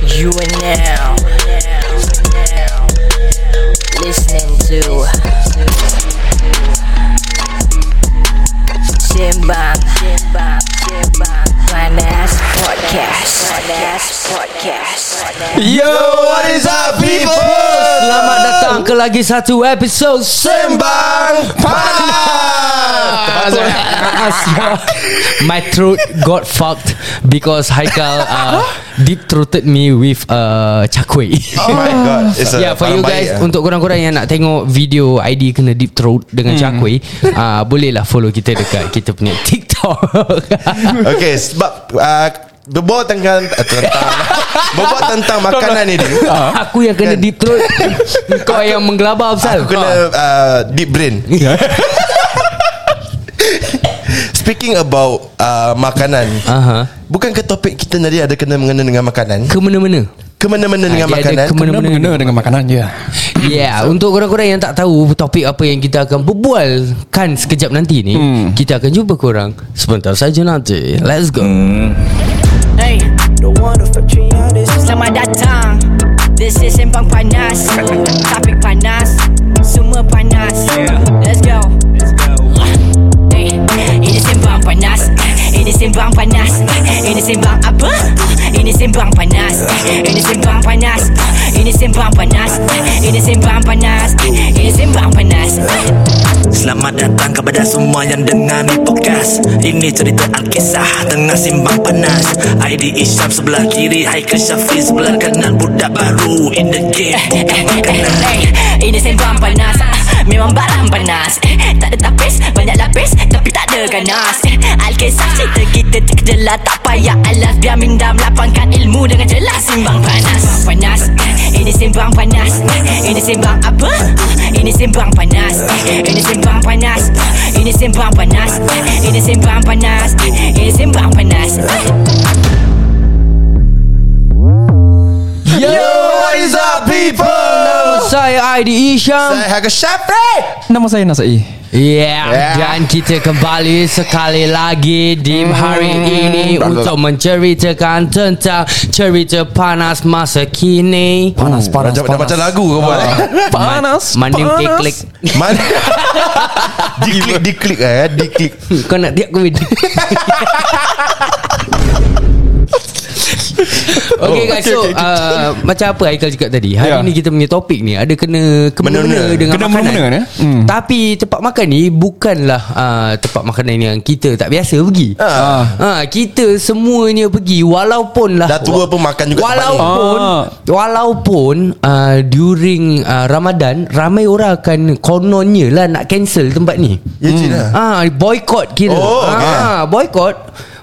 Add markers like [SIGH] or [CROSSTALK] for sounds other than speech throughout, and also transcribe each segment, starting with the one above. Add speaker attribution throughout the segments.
Speaker 1: You are now listening to Simbang Finance Podcast Finance Podcast
Speaker 2: Yo, what is up people?
Speaker 3: Selamat datang ke lagi satu episod
Speaker 2: Sembang Panas [LAUGHS]
Speaker 3: My throat got fucked because Haikal uh, deep throated me with uh, cakwe.
Speaker 2: Oh my god It's a
Speaker 3: yeah, for you
Speaker 2: barang baik,
Speaker 3: guys
Speaker 2: eh.
Speaker 3: untuk korang-korang yang nak tengok video ID kena deep throat dengan hmm. cakwe, uh, bolehlah follow kita dekat kita punya TikTok.
Speaker 2: Okay sebab uh, Berbual tentang uh,
Speaker 3: [LAUGHS]
Speaker 2: Tentang Berbual tentang makanan ni dia.
Speaker 3: Aku yang kena
Speaker 2: Kan?
Speaker 3: deep
Speaker 2: [LAUGHS]
Speaker 3: throat. Kau yang menggelabah pasal.
Speaker 2: Aku kena uh, Deep brain [LAUGHS] Speaking about uh, Makanan
Speaker 3: Ah. Aha.
Speaker 2: Bukankah topik kita tadi ada kena mengena dengan makanan?
Speaker 3: Ke mana-mana.
Speaker 2: Kemana-mana
Speaker 3: dia
Speaker 2: dengan
Speaker 3: ada
Speaker 2: makanan
Speaker 3: kemana-
Speaker 4: Kena mengena dengan makanan je
Speaker 3: Yeah, untuk korang-korang yang tak tahu topik apa yang kita akan berbualkan sekejap nanti ni, hmm. kita akan jumpa korang sebentar saja nanti. Let's go. Hmm.
Speaker 1: Hey Selamat datang This is Sembang Panas Topik panas Semua panas Let's go Hey, Ini Sembang Panas Ini Sembang Panas Ini Sembang apa? Ini Sembang Panas Ini Sembang Panas Ini Sembang Panas Ini Sembang Panas Ini Sembang Panas
Speaker 5: Selamat datang kepada semua yang dengar ni podcast Ini cerita Alkisah tengah simbang panas ID Isyam sebelah kiri Haikal Syafiq sebelah kanan Budak baru in the game Bukan makanan
Speaker 1: Eh, Ini sembang panas Ah, Memang barang panas Eh, Tak ada tapis Banyak lapis Tapi tak ada ganas Eh, Alkisah cerita kita terkejelah Tak payah alas Biar minda melapangkan ilmu Dengan jelas Simbang panas Sembang panas Eh, Ini sembang panas Eh, Ini sembang apa? Ah, Ini sembang panas Eh, Ini sembang panas Ah, Ini sembang panas Eh, Ini sembang panas Eh, Ini sembang panas Eh.
Speaker 3: Yo,
Speaker 2: What is up people?
Speaker 3: saya Aidi Isham.
Speaker 2: Saya Haga Syafri
Speaker 4: Nama saya Nasai
Speaker 3: Yeah,
Speaker 2: Yeah.
Speaker 3: yeah, dan kita kembali sekali lagi di hari ini
Speaker 2: Brother.
Speaker 3: untuk menceritakan tentang cerita panas masa kini.
Speaker 4: Panas, panas,
Speaker 2: Macam,
Speaker 4: panas Ah.
Speaker 2: macam lagu kau buat [LAUGHS] eh?
Speaker 4: Panas
Speaker 3: Manding
Speaker 4: panas.
Speaker 3: klik. [LAUGHS]
Speaker 2: Mana Diklik Diklik eh Diklik
Speaker 3: Kau nak tiap
Speaker 4: [LAUGHS]
Speaker 3: komedi Okay guys So
Speaker 4: Oh, Okay, okay,
Speaker 3: uh, Macam apa Haikal cakap tadi Hari
Speaker 4: Ya.
Speaker 3: ni kita punya topik ni Ada kena Kemana-mana
Speaker 2: Menuna.
Speaker 3: dengan
Speaker 4: Kena
Speaker 3: makanan
Speaker 4: menuna, ya? Hmm.
Speaker 3: Tapi tempat makan ni Bukanlah uh, Tempat makanan yang kita Tak biasa pergi
Speaker 4: Ya.
Speaker 2: Ah.
Speaker 3: Ah. Ah, Kita semuanya pergi Walaupun lah
Speaker 2: Dah tua pun makan juga tempat ni.
Speaker 3: Walaupun
Speaker 4: Ah.
Speaker 3: Walaupun uh, During uh, Ramadan Ramai orang akan Kononnya lah Nak cancel tempat ni
Speaker 2: Ya cik lah
Speaker 3: Ah, boycott kira.
Speaker 2: Oh,
Speaker 3: ah,
Speaker 2: okay.
Speaker 3: boycott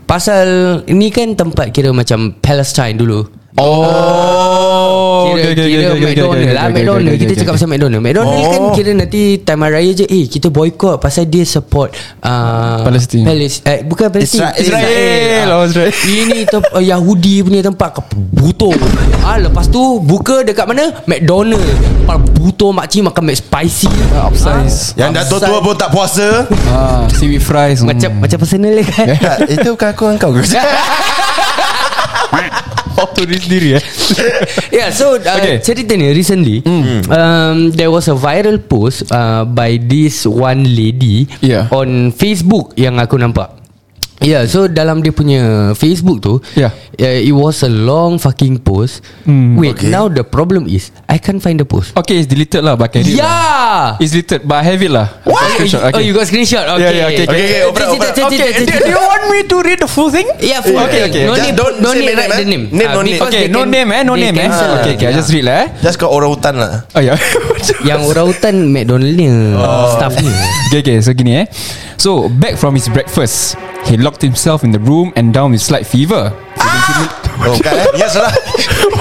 Speaker 3: pasal ni kan tempat kira macam Palestine dulu.
Speaker 4: Oh
Speaker 3: Kira, kira McDonald lah
Speaker 4: Ah,
Speaker 3: McDonald Kita cakap pasal McDonald McDonald
Speaker 2: Oh.
Speaker 3: kan kira nanti Time hari raya je Eh kita boycott Pasal dia support uh,
Speaker 4: Palestin.
Speaker 3: Palis, eh, Bukan Palestin
Speaker 2: Isra-
Speaker 4: Israel.
Speaker 3: Ah.
Speaker 4: Oh, Israel.
Speaker 3: Ini tem- uh, Yahudi punya tempat Kau Butuh ah, Lepas tu Buka dekat mana McDonald Kepala Butuh makcik makan McSpicy Ah,
Speaker 4: Upsize
Speaker 2: Yang dah tua-tua pun tak [LAUGHS] puasa
Speaker 4: ah, Seaweed fries hmm.
Speaker 3: Macam macam personal dia kan
Speaker 2: [LAUGHS] Tak, Ya, Itu bukan aku dengan kau ke?
Speaker 4: Oh tu diri sendiri eh
Speaker 3: Yeah, so uh, okay.
Speaker 4: Okay. Hmm.
Speaker 3: cerita ni recently mm. um, there was a viral post uh, by this one lady
Speaker 4: Yeah.
Speaker 3: on Facebook yang aku nampak. Yeah, so dalam dia punya Facebook tu,
Speaker 4: Yeah. Hmm.
Speaker 3: uh, it was a long fucking post. Mm. Wait, okay. now the problem is I can't find the post.
Speaker 4: Okay it's deleted lah But I can read lah.
Speaker 3: Yeah.
Speaker 4: It's deleted But I have it lah I've got
Speaker 3: What?
Speaker 4: screenshot,
Speaker 3: Oh, you got screenshot. Okay.
Speaker 4: Yeah, yeah, okay, okay.
Speaker 2: Okay, okay, open up, open up.
Speaker 3: Cerita, cerita, cerita, cerita.
Speaker 4: want me to read the full thing?
Speaker 3: Yeah, full
Speaker 4: Okay,
Speaker 3: thing.
Speaker 4: okay.
Speaker 3: No
Speaker 2: Just
Speaker 3: name,
Speaker 2: don't
Speaker 3: no
Speaker 2: say
Speaker 3: name,
Speaker 2: my
Speaker 3: write
Speaker 2: name,
Speaker 3: the
Speaker 2: eh.
Speaker 3: name.
Speaker 2: Name,
Speaker 3: Ah,
Speaker 2: no name.
Speaker 3: because
Speaker 4: Okay
Speaker 3: they
Speaker 4: no
Speaker 3: can-
Speaker 4: name eh No
Speaker 3: they
Speaker 4: name eh
Speaker 3: cancel
Speaker 4: Okay okay I
Speaker 3: lah.
Speaker 4: just read lah eh
Speaker 2: Just kau orang hutan lah
Speaker 4: Oh ya
Speaker 3: Yang rautan McDonald ni oh. Staff ni
Speaker 4: [LAUGHS] Okay, okay, so gini eh. So, back from his breakfast, he locked himself in the room and down with slight fever.
Speaker 2: Oh bukan eh Ya salah
Speaker 4: [LAUGHS]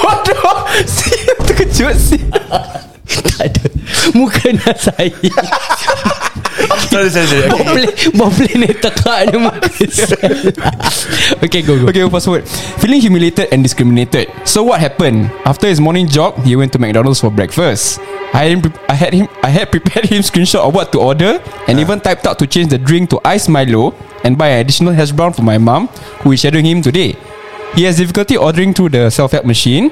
Speaker 4: Waduh, [LAUGHS] si terkejut si.
Speaker 3: [LAUGHS] Tak ada Muka nak saya
Speaker 2: [LAUGHS] Sorry sorry sorry Okay.
Speaker 3: Boleh Boleh ni tekak ni muka saya Okay go go okay.
Speaker 4: Okay, we'll fast forward. Feeling humiliated and discriminated. So what happened? After his morning jog, he went to McDonald's for breakfast. I had him, I had him, I had [LAUGHS] prepared him screenshot of what to order
Speaker 3: Ah.
Speaker 4: and even typed out to change the drink to ice Milo and buy an additional hash brown for my mom, who is shadowing him today. He has difficulty ordering through the self-help machine.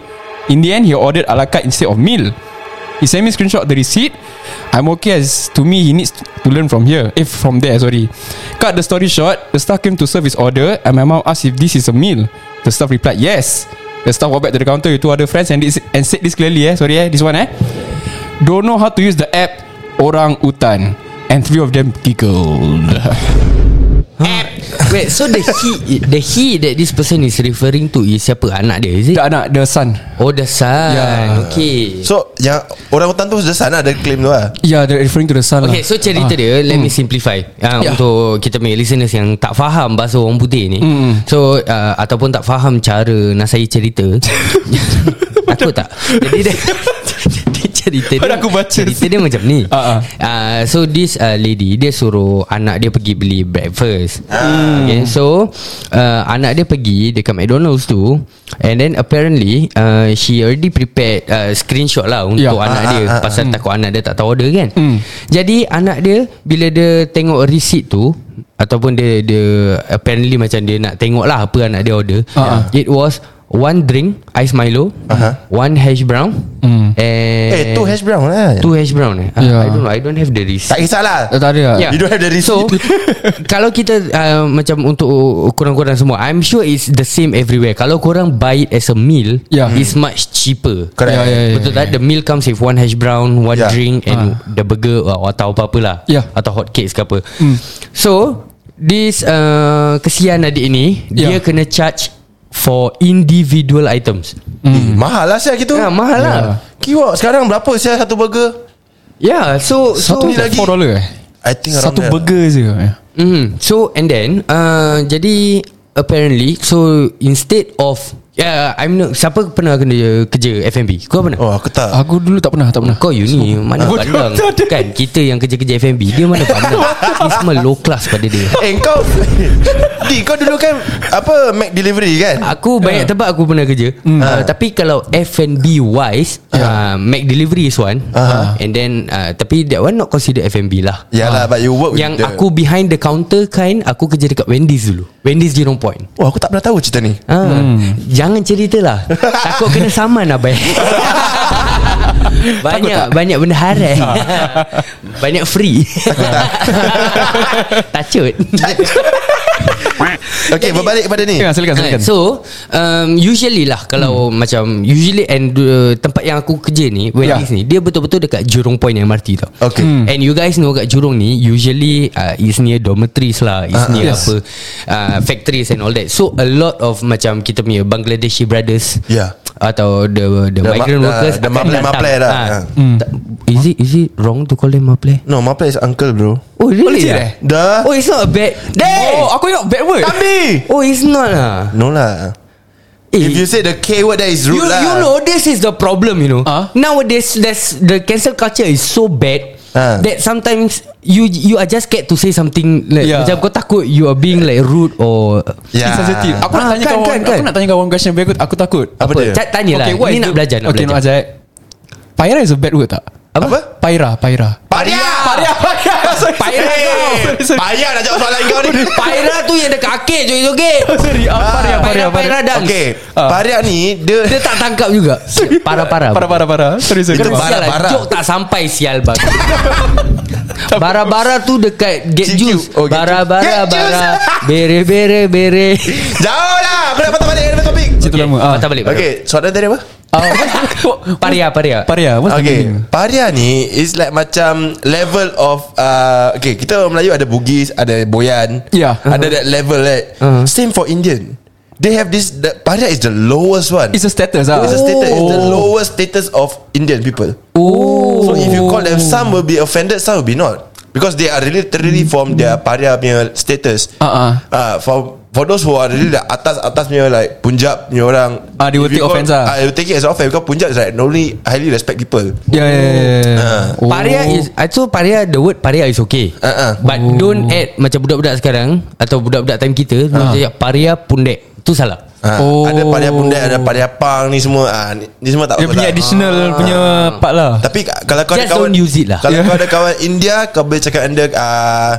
Speaker 4: In the end, he ordered a la carte instead of meal. He sent me screenshot the receipt. I'm okay as to me he needs to learn from here. If from there, sorry. Cut the story short, the staff came to serve his order and my mom asked if this is a meal. The staff replied, yes. The staff walked back to the counter with two other friends and, this, and said this clearly, eh. Sorry, eh. This one, eh. Don't know how to use the app Orang Utan. And three of them [LAUGHS] giggled.
Speaker 3: Ha. Eh, Wait, so the he the he that this person is referring to is siapa? Anak dia, is it?
Speaker 4: the anak, the son.
Speaker 3: Oh, the son.
Speaker 4: Yeah.
Speaker 3: Yeah. Okay.
Speaker 2: [LAUGHS] So yang Orang hutan tu Dia sana ada claim tu lah
Speaker 4: Yeah, they're referring to the son.
Speaker 3: Okay, so cerita
Speaker 4: Ah. Ya.
Speaker 3: dia let me simplify. Uh,
Speaker 4: Yeah.
Speaker 3: untuk kita punya listeners yang tak faham bahasa orang putih ni.
Speaker 4: Hmm.
Speaker 3: So uh, ataupun tak faham cara Nasai
Speaker 4: [LAUGHS]
Speaker 3: cerita. Aku tak. Jadi dia [LAUGHS] dia cerita dia,
Speaker 4: Padahal aku baca.
Speaker 3: cerita dia macam ni.
Speaker 4: Ah, ah.
Speaker 3: Uh, so this uh, lady dia suruh anak dia pergi beli breakfast.
Speaker 4: Hmm.
Speaker 3: Okay, so uh, anak dia pergi dekat McDonald's tu and then apparently uh, she already prepared uh, screenshot lah untuk
Speaker 4: Yeah.
Speaker 3: anak
Speaker 2: Ah,
Speaker 3: dia
Speaker 2: ah, Hmm. ah,
Speaker 3: pasal takut anak dia tak tahu order kan. Jadi anak dia bila dia tengok receipt tu ataupun dia dia apparently macam dia nak tengok lah apa anak dia order.
Speaker 4: Ah,
Speaker 3: It was one drink ice Milo,
Speaker 2: Aha.
Speaker 3: one hash brown and
Speaker 2: Eh tu hash brown lah
Speaker 3: Two hash brown eh?
Speaker 4: Yeah.
Speaker 3: Yeah. I don't know. I don't have the receipt.
Speaker 2: Tak kisahlah
Speaker 4: Eh, Tak ada lah.
Speaker 2: Yeah. You don't have the
Speaker 3: So [LAUGHS] Kalau kita uh, Macam untuk Korang-korang semua I'm sure it's the same everywhere Kalau korang buy it as a meal
Speaker 2: Ya.
Speaker 4: Yeah.
Speaker 3: It's much cheaper
Speaker 2: Correct. Eh,
Speaker 4: Yeah, yeah, yeah,
Speaker 3: Betul tak The meal comes with One hash brown One
Speaker 2: Yeah.
Speaker 3: yeah. drink And the burger uh, Atau apa-apa lah
Speaker 4: Yeah.
Speaker 3: Atau hot cakes ke apa So This uh, Kesian adik ni Dia
Speaker 4: Yeah.
Speaker 3: kena charge For individual items
Speaker 2: Eh, Mahal lah saya gitu
Speaker 3: Ya, mahal lah.
Speaker 2: Kiwak sekarang berapa saya satu burger
Speaker 3: Yeah So
Speaker 4: Satu
Speaker 3: so,
Speaker 2: ni lagi.
Speaker 4: lagi 4 dollar eh
Speaker 2: I think around
Speaker 4: Satu
Speaker 2: there.
Speaker 4: burger je
Speaker 3: Mm. So and then uh, Jadi Apparently So instead of Yeah, I'm not, siapa pernah kena kerja F&B? Kau pernah?
Speaker 2: Oh aku tak
Speaker 4: Aku dulu tak pernah Tak pernah
Speaker 3: Kau you ni mana
Speaker 4: Bodoh
Speaker 3: pandang
Speaker 4: tak ada.
Speaker 3: Kan kita yang kerja-kerja F&B Dia mana pandang Ini semua low class pada dia
Speaker 2: Eh kau Di kau dulu kan Apa Mac delivery kan
Speaker 3: Aku banyak tempat aku pernah kerja uh, Tapi kalau F&B wise uh, Mac delivery is one uh And then uh, Tapi that one not considered F&B lah
Speaker 2: Yalah Ya but you work
Speaker 3: Yang
Speaker 2: with the-
Speaker 3: aku behind the counter kind Aku kerja dekat Wendy's dulu Wendy's Jurong Point
Speaker 2: Wah Oh, aku tak pernah tahu cerita ni
Speaker 3: Ah, hmm. Jangan [LAUGHS] ceritalah Takut kena saman abai [LAUGHS] Banyak Banyak benda haram [LAUGHS] Banyak free Ah. Takut [LAUGHS] tak Tacut
Speaker 2: Okay berbalik pada ni
Speaker 4: Ya silakan silakan
Speaker 3: Alright, Kan, So um, Usually lah Kalau hmm. macam Usually and uh, Tempat yang aku kerja ni Wendy's
Speaker 4: Yeah.
Speaker 3: ni Dia betul-betul dekat Jurong Point MRT tau
Speaker 2: Okay. Ya. Hmm.
Speaker 3: And you guys know kat Jurong ni Usually uh, Is near dormitories lah Is
Speaker 2: Ah,
Speaker 3: uh, near yes.
Speaker 4: yes.
Speaker 3: apa uh, Factories and all that So a lot of Macam kita punya Bangladeshi brothers
Speaker 2: Yeah.
Speaker 3: Atau the The,
Speaker 2: The ma-
Speaker 3: migrant
Speaker 2: the-
Speaker 3: workers
Speaker 2: the
Speaker 3: akan
Speaker 2: Maple-
Speaker 3: datang.
Speaker 2: Maple lah.
Speaker 3: Ah.
Speaker 2: Ah.
Speaker 3: Ta- Is it is it wrong to call them Maple?
Speaker 2: No my place uncle bro
Speaker 3: Oh really?
Speaker 4: legit
Speaker 3: ah?
Speaker 4: eh?
Speaker 2: Dah.
Speaker 3: Oh it's not a bad
Speaker 4: Oh aku ingat bad word
Speaker 2: Ambil
Speaker 3: Oh it's not Eh, lah
Speaker 2: No lah
Speaker 4: Eh.
Speaker 2: If you say the K word That is rude
Speaker 3: you,
Speaker 2: lah
Speaker 3: you know this is the problem you know
Speaker 4: Ah?
Speaker 3: nowadays there's the cancel culture is so bad
Speaker 2: Ah.
Speaker 3: that sometimes you you are just scared to say something like
Speaker 4: Yeah.
Speaker 3: macam kau takut you are being like rude or
Speaker 2: Yeah.
Speaker 4: Sensitive Aku nak
Speaker 3: Ah,
Speaker 4: tanya
Speaker 3: kan,
Speaker 4: kawan
Speaker 3: kan,
Speaker 4: Aku
Speaker 3: kan.
Speaker 4: nak tanya kawan question Tapi aku, aku takut
Speaker 2: Apa dia?
Speaker 3: Ta- tanya lah
Speaker 4: what
Speaker 3: ni
Speaker 4: is
Speaker 3: nak
Speaker 4: the-
Speaker 3: belajar nak
Speaker 4: Okay nak
Speaker 3: belajar
Speaker 4: belajar Paira is a bad word tak?
Speaker 3: Apa?
Speaker 4: Paira Paira
Speaker 2: Payah
Speaker 4: Paira
Speaker 2: [LAUGHS]
Speaker 4: Paira Sorry,
Speaker 3: Paira
Speaker 4: sorry.
Speaker 3: kau.
Speaker 4: Sorry, sorry.
Speaker 2: Payah nak jawab soalan
Speaker 4: [LAUGHS]
Speaker 2: kau ni
Speaker 3: Paira tu yang dekat akik joget-joget
Speaker 4: Sorry ah, Paira Paira
Speaker 3: Paira Paira
Speaker 4: Paira
Speaker 3: dance
Speaker 2: Okay
Speaker 4: Ah.
Speaker 2: Pariak ni Dia
Speaker 4: [LAUGHS]
Speaker 3: dia tak tangkap juga Parah-parah
Speaker 4: Para para para Sorry sorry
Speaker 2: Itu
Speaker 3: Kan
Speaker 2: Bara-
Speaker 3: sial lah
Speaker 2: bara.
Speaker 3: Jok tak sampai sial
Speaker 2: [LAUGHS]
Speaker 3: bang Bara-bara tu dekat Get
Speaker 2: CQ.
Speaker 3: juice
Speaker 2: Oh, Get
Speaker 3: Bara-bara
Speaker 2: Juice. Get Juice.
Speaker 3: bara Bere-bere bere
Speaker 2: Jauh lah Aku nak patah balik Dengan topik
Speaker 4: Itu lama ah.
Speaker 3: Patah balik patah
Speaker 2: Okay soalan tadi apa
Speaker 3: [LAUGHS] Paria Paria
Speaker 4: Paria What's the
Speaker 2: Okay
Speaker 4: meaning?
Speaker 2: Paria ni Is like macam Level of uh, Okay kita orang Melayu ada Bugis Ada Boyan
Speaker 4: Yeah.
Speaker 2: Ada that level right
Speaker 3: Uh-huh.
Speaker 2: Same for Indian They have this the, Paria is the lowest one
Speaker 4: It's a status ah.
Speaker 2: It's a status It's the
Speaker 4: Oh.
Speaker 2: lowest status of Indian people
Speaker 3: Oh
Speaker 2: So if you call them Some will be offended Some will be not Because they are really Literally from their Paria punya status
Speaker 4: Ah,
Speaker 2: uh, For For those who are really the Atas-atas punya like Punjab punya orang
Speaker 4: Ah, they will
Speaker 2: if you
Speaker 4: take
Speaker 2: call-
Speaker 4: offense ah.
Speaker 2: ah, They will take it as offense Because Punjab is like Normally highly respect people
Speaker 4: Yeah, yeah, yeah,
Speaker 2: Ah.
Speaker 4: yeah. Oh.
Speaker 3: Paria is I so paria the word paria is okay.
Speaker 2: Uh-uh.
Speaker 3: But don't add macam budak-budak sekarang atau budak-budak time kita uh. cakap paria pundek. Tu salah.
Speaker 2: Ha,
Speaker 4: Oh.
Speaker 2: oh. Ada pariah pundak Ada pariah pang Ni semua ha, ni, ni semua tak
Speaker 4: Dia punya
Speaker 2: tak.
Speaker 4: additional punya part lah.
Speaker 2: Tapi ka- kalau kau
Speaker 3: Just
Speaker 2: ada kawan
Speaker 3: don't use it lah.
Speaker 2: Kalau
Speaker 4: Yeah.
Speaker 2: kau ada kawan India Kau boleh cakap anda uh,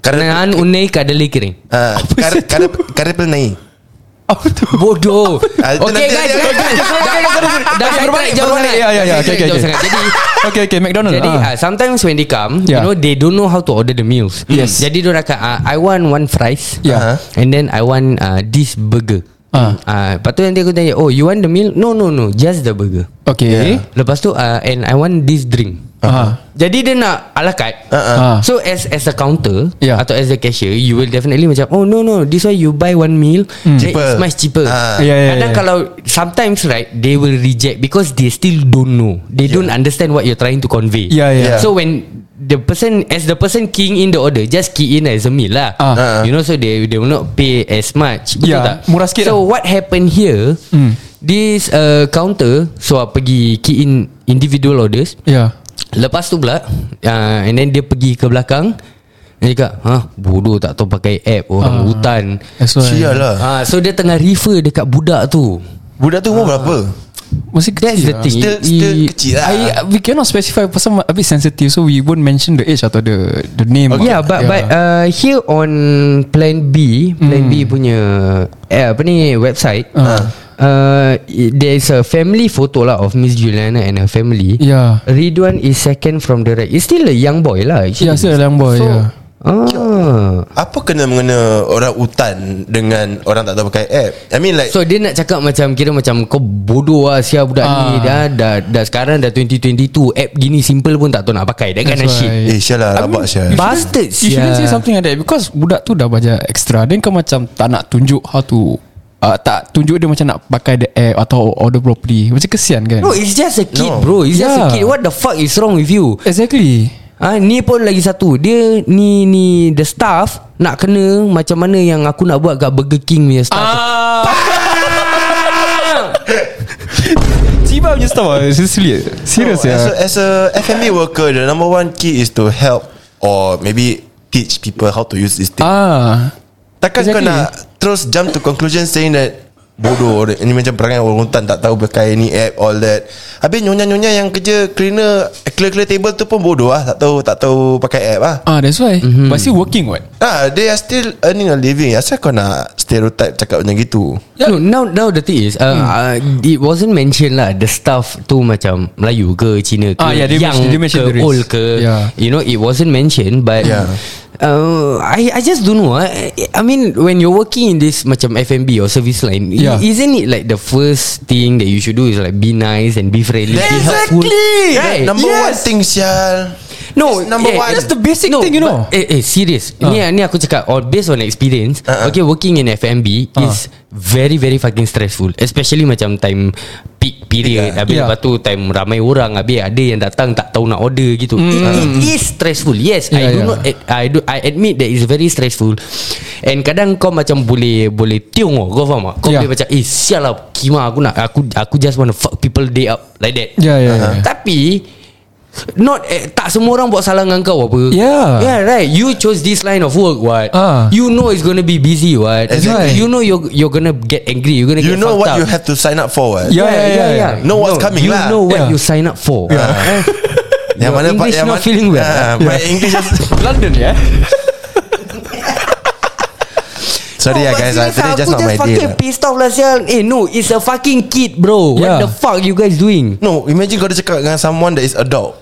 Speaker 2: Karena
Speaker 3: Kanan unai kadali kering.
Speaker 2: uh, kar, kar, Karipel naik
Speaker 4: [LAUGHS] Apa tu?
Speaker 3: Bodoh
Speaker 2: Ah, itu
Speaker 3: Okay
Speaker 2: nanti-
Speaker 3: guys
Speaker 2: okay,
Speaker 3: guys. Dah- Dah saya
Speaker 4: berbalik,
Speaker 3: tak jauh sangat
Speaker 4: berbalik. Ya, ya,
Speaker 3: Dah
Speaker 4: ya. Okay,
Speaker 3: saya
Speaker 4: okay,
Speaker 3: tak jauh
Speaker 4: okay.
Speaker 3: sangat. Jadi
Speaker 4: Okay, okay, McDonald.
Speaker 3: Jadi
Speaker 4: ah.
Speaker 3: uh, sometimes when they come, yeah. you
Speaker 4: Yeah.
Speaker 3: know they don't know how to order the meals.
Speaker 4: Yes.
Speaker 3: Jadi dia akan uh, I want one fries.
Speaker 4: Yeah.
Speaker 3: And then I want uh, this burger.
Speaker 4: Ah.
Speaker 3: Ah. Uh, lepas tu nanti aku tanya, "Oh, you want the meal?" No, no, no, just the burger.
Speaker 4: Okay.
Speaker 3: Lepas tu uh, and I want this drink.
Speaker 4: Ah.
Speaker 3: Jadi dia nak ala carte.
Speaker 2: Ha,
Speaker 4: Ah. Ya.
Speaker 3: So as as a counter yeah.
Speaker 4: Yeah.
Speaker 3: atau as a cashier, you will definitely macam, "Oh, no, no, this why you buy one meal,
Speaker 4: Hmm.
Speaker 3: mm.
Speaker 2: Cheaper.
Speaker 3: it's much cheaper."
Speaker 2: Ah.
Speaker 4: Yeah, yeah,
Speaker 3: Kadang
Speaker 4: yeah.
Speaker 3: kalau sometimes right, they will reject because they still don't know. They
Speaker 2: Ya.
Speaker 3: yeah. don't understand what you're trying to convey.
Speaker 4: Yeah, yeah.
Speaker 2: Yeah.
Speaker 3: So when the person as the person keying in the order, just key in as a meal lah.
Speaker 2: Ah.
Speaker 4: Ah.
Speaker 3: You know, so they they will not pay as much. Betul
Speaker 4: Yeah,
Speaker 3: tak?
Speaker 4: murah sikit
Speaker 3: So
Speaker 4: lah. Hmm.
Speaker 3: what happened here? Mm. This uh, counter so uh, pergi key in individual orders.
Speaker 4: Yeah.
Speaker 3: Lepas tu pula uh, And then dia pergi ke belakang Dia cakap ha, Bodoh tak tahu pakai app Orang
Speaker 4: Ah.
Speaker 3: hutan
Speaker 4: That's why.
Speaker 2: Sial lah
Speaker 3: uh, So dia tengah refer dekat budak tu
Speaker 2: Budak tu
Speaker 4: Ha.
Speaker 2: umur berapa?
Speaker 4: Mesti
Speaker 3: That's
Speaker 4: kecil
Speaker 3: the
Speaker 4: lah.
Speaker 3: thing
Speaker 2: Still-
Speaker 3: It-
Speaker 2: still
Speaker 3: it-
Speaker 2: kecil lah.
Speaker 4: I, we cannot specify pasal a bit sensitive so we won't mention the age atau the the name.
Speaker 3: Yeah but but uh, here on Plan B Plan
Speaker 4: Hmm.
Speaker 3: B punya eh, apa ni website
Speaker 4: Ah.
Speaker 3: uh. Uh, it- there is a family photo lah of Miss Juliana and her family.
Speaker 4: Yeah.
Speaker 3: Ridwan is second from the right. It's still a young boy lah. Actually.
Speaker 4: Yeah, still a young boy,
Speaker 3: So,
Speaker 4: yeah.
Speaker 3: Ah.
Speaker 2: Apa kena mengena orang hutan dengan orang tak tahu pakai app? I mean like
Speaker 3: So dia nak cakap macam Kira macam Kau bodoh lah Sia budak
Speaker 4: Ah.
Speaker 3: ni dah, dah, dah sekarang dah 2022 App gini simple pun tak tahu nak pakai That kind of
Speaker 4: That's
Speaker 3: shit
Speaker 2: eh
Speaker 4: why.
Speaker 2: sial lah
Speaker 4: I mean,
Speaker 2: rabak sial.
Speaker 4: you shouldn't-
Speaker 3: Bastard,
Speaker 4: You shouldn't say
Speaker 3: sia.
Speaker 4: something like that because budak tu dah belajar extra then kau macam tak nak tunjuk how to uh, tak tunjuk dia macam nak pakai the app atau order properly. Macam kesian kan?
Speaker 3: No it's just a kid no.
Speaker 2: No.
Speaker 3: bro It's yeah. just a
Speaker 4: Yeah.
Speaker 3: kid What the fuck is wrong with you
Speaker 4: Exactly.
Speaker 3: Ah ha, Ni pun lagi satu Dia ni ni The staff Nak kena Macam mana yang aku nak buat Kat Burger King punya staff ah.
Speaker 4: Ciba punya staff ah, Seriously Serious
Speaker 2: No,
Speaker 4: ya
Speaker 2: as a, as a F&B worker The number one key is to help Or maybe Teach people how to use this thing
Speaker 4: Ah
Speaker 2: Takkan kau
Speaker 4: exactly.
Speaker 2: nak Terus jump to conclusion Saying that Bodoh Ini macam perangai orang hutan Tak tahu pakai ni app All that Habis nyonya-nyonya yang kerja Cleaner Clear-clear table tu pun bodoh lah Tak tahu Tak tahu pakai app lah
Speaker 4: Ah that's why mm-hmm. But still working what
Speaker 2: Ah, they are still earning a living Asal kau nak stereotype cakap macam gitu
Speaker 3: No, now now the thing is uh, hmm. uh, it wasn't mentioned lah the staff tu macam Melayu ke Cina ke
Speaker 4: Ah, yeah, they
Speaker 3: yang
Speaker 4: mention- they mention
Speaker 3: ke
Speaker 4: the race.
Speaker 3: old ke
Speaker 4: Yeah.
Speaker 3: you know it wasn't mentioned but
Speaker 2: Yeah.
Speaker 3: uh, I I just don't know. I, I mean when you're working in this macam F&B or service line yeah.
Speaker 4: Yeah.
Speaker 3: isn't it like the first thing that you should do is like be nice and be friendly be helpful right?
Speaker 2: Number one thing sial
Speaker 3: No
Speaker 2: It's number one.
Speaker 4: eh, That's the basic thing, you know. Ah.
Speaker 3: but- Eh, eh serious Ni ni aku cakap or Based on experience
Speaker 2: Ah, ah.
Speaker 3: Okay working in F&B
Speaker 4: Ah.
Speaker 3: Is very very fucking stressful Especially macam time Peak period
Speaker 2: Yeah.
Speaker 3: Habis
Speaker 4: Yeah.
Speaker 3: lepas tu Time ramai orang Habis ada yang datang Tak tahu nak order gitu It- It is stressful Yes I
Speaker 4: Hmm. Yeah,
Speaker 3: do
Speaker 4: yeah.
Speaker 3: not ad- I do I admit that it's very stressful And kadang kau macam boleh Boleh tiung oh, Kau faham tak Kau
Speaker 4: Yeah.
Speaker 3: boleh macam Eh sial lah Kima aku nak Aku aku just want to fuck people day up Like that
Speaker 4: Yeah yeah, yeah.
Speaker 3: tapi Not eh, Tak semua orang buat salah dengan kau apa
Speaker 4: Yeah.
Speaker 3: Yeah right You chose this line of work what
Speaker 4: Ya. Ah.
Speaker 3: You know it's gonna be busy what
Speaker 2: Exactly.
Speaker 3: You know you're, you're gonna get angry You're gonna get
Speaker 2: You know
Speaker 3: fucked up.
Speaker 2: what you have to sign up for eh?
Speaker 4: Yeah.
Speaker 2: Know what's coming
Speaker 3: You
Speaker 2: lah.
Speaker 3: know what
Speaker 4: Yeah.
Speaker 3: you sign up for
Speaker 2: Yeah.
Speaker 3: Your
Speaker 2: Yang mana Pak
Speaker 3: English
Speaker 2: yang
Speaker 3: not
Speaker 2: mana-
Speaker 3: feeling well.
Speaker 2: Ah, My English is
Speaker 4: [LAUGHS] London ya yeah?
Speaker 2: Sorry
Speaker 3: No,
Speaker 2: lah
Speaker 3: but
Speaker 2: guys ah,
Speaker 3: serious
Speaker 2: Today
Speaker 3: ah,
Speaker 2: just
Speaker 3: aku
Speaker 2: not my day
Speaker 3: fucking
Speaker 2: lah.
Speaker 3: pissed off lah sial Eh no It's a fucking kid bro
Speaker 4: Yeah.
Speaker 3: What the fuck you guys doing
Speaker 2: No imagine kau ada cakap Dengan someone that is adult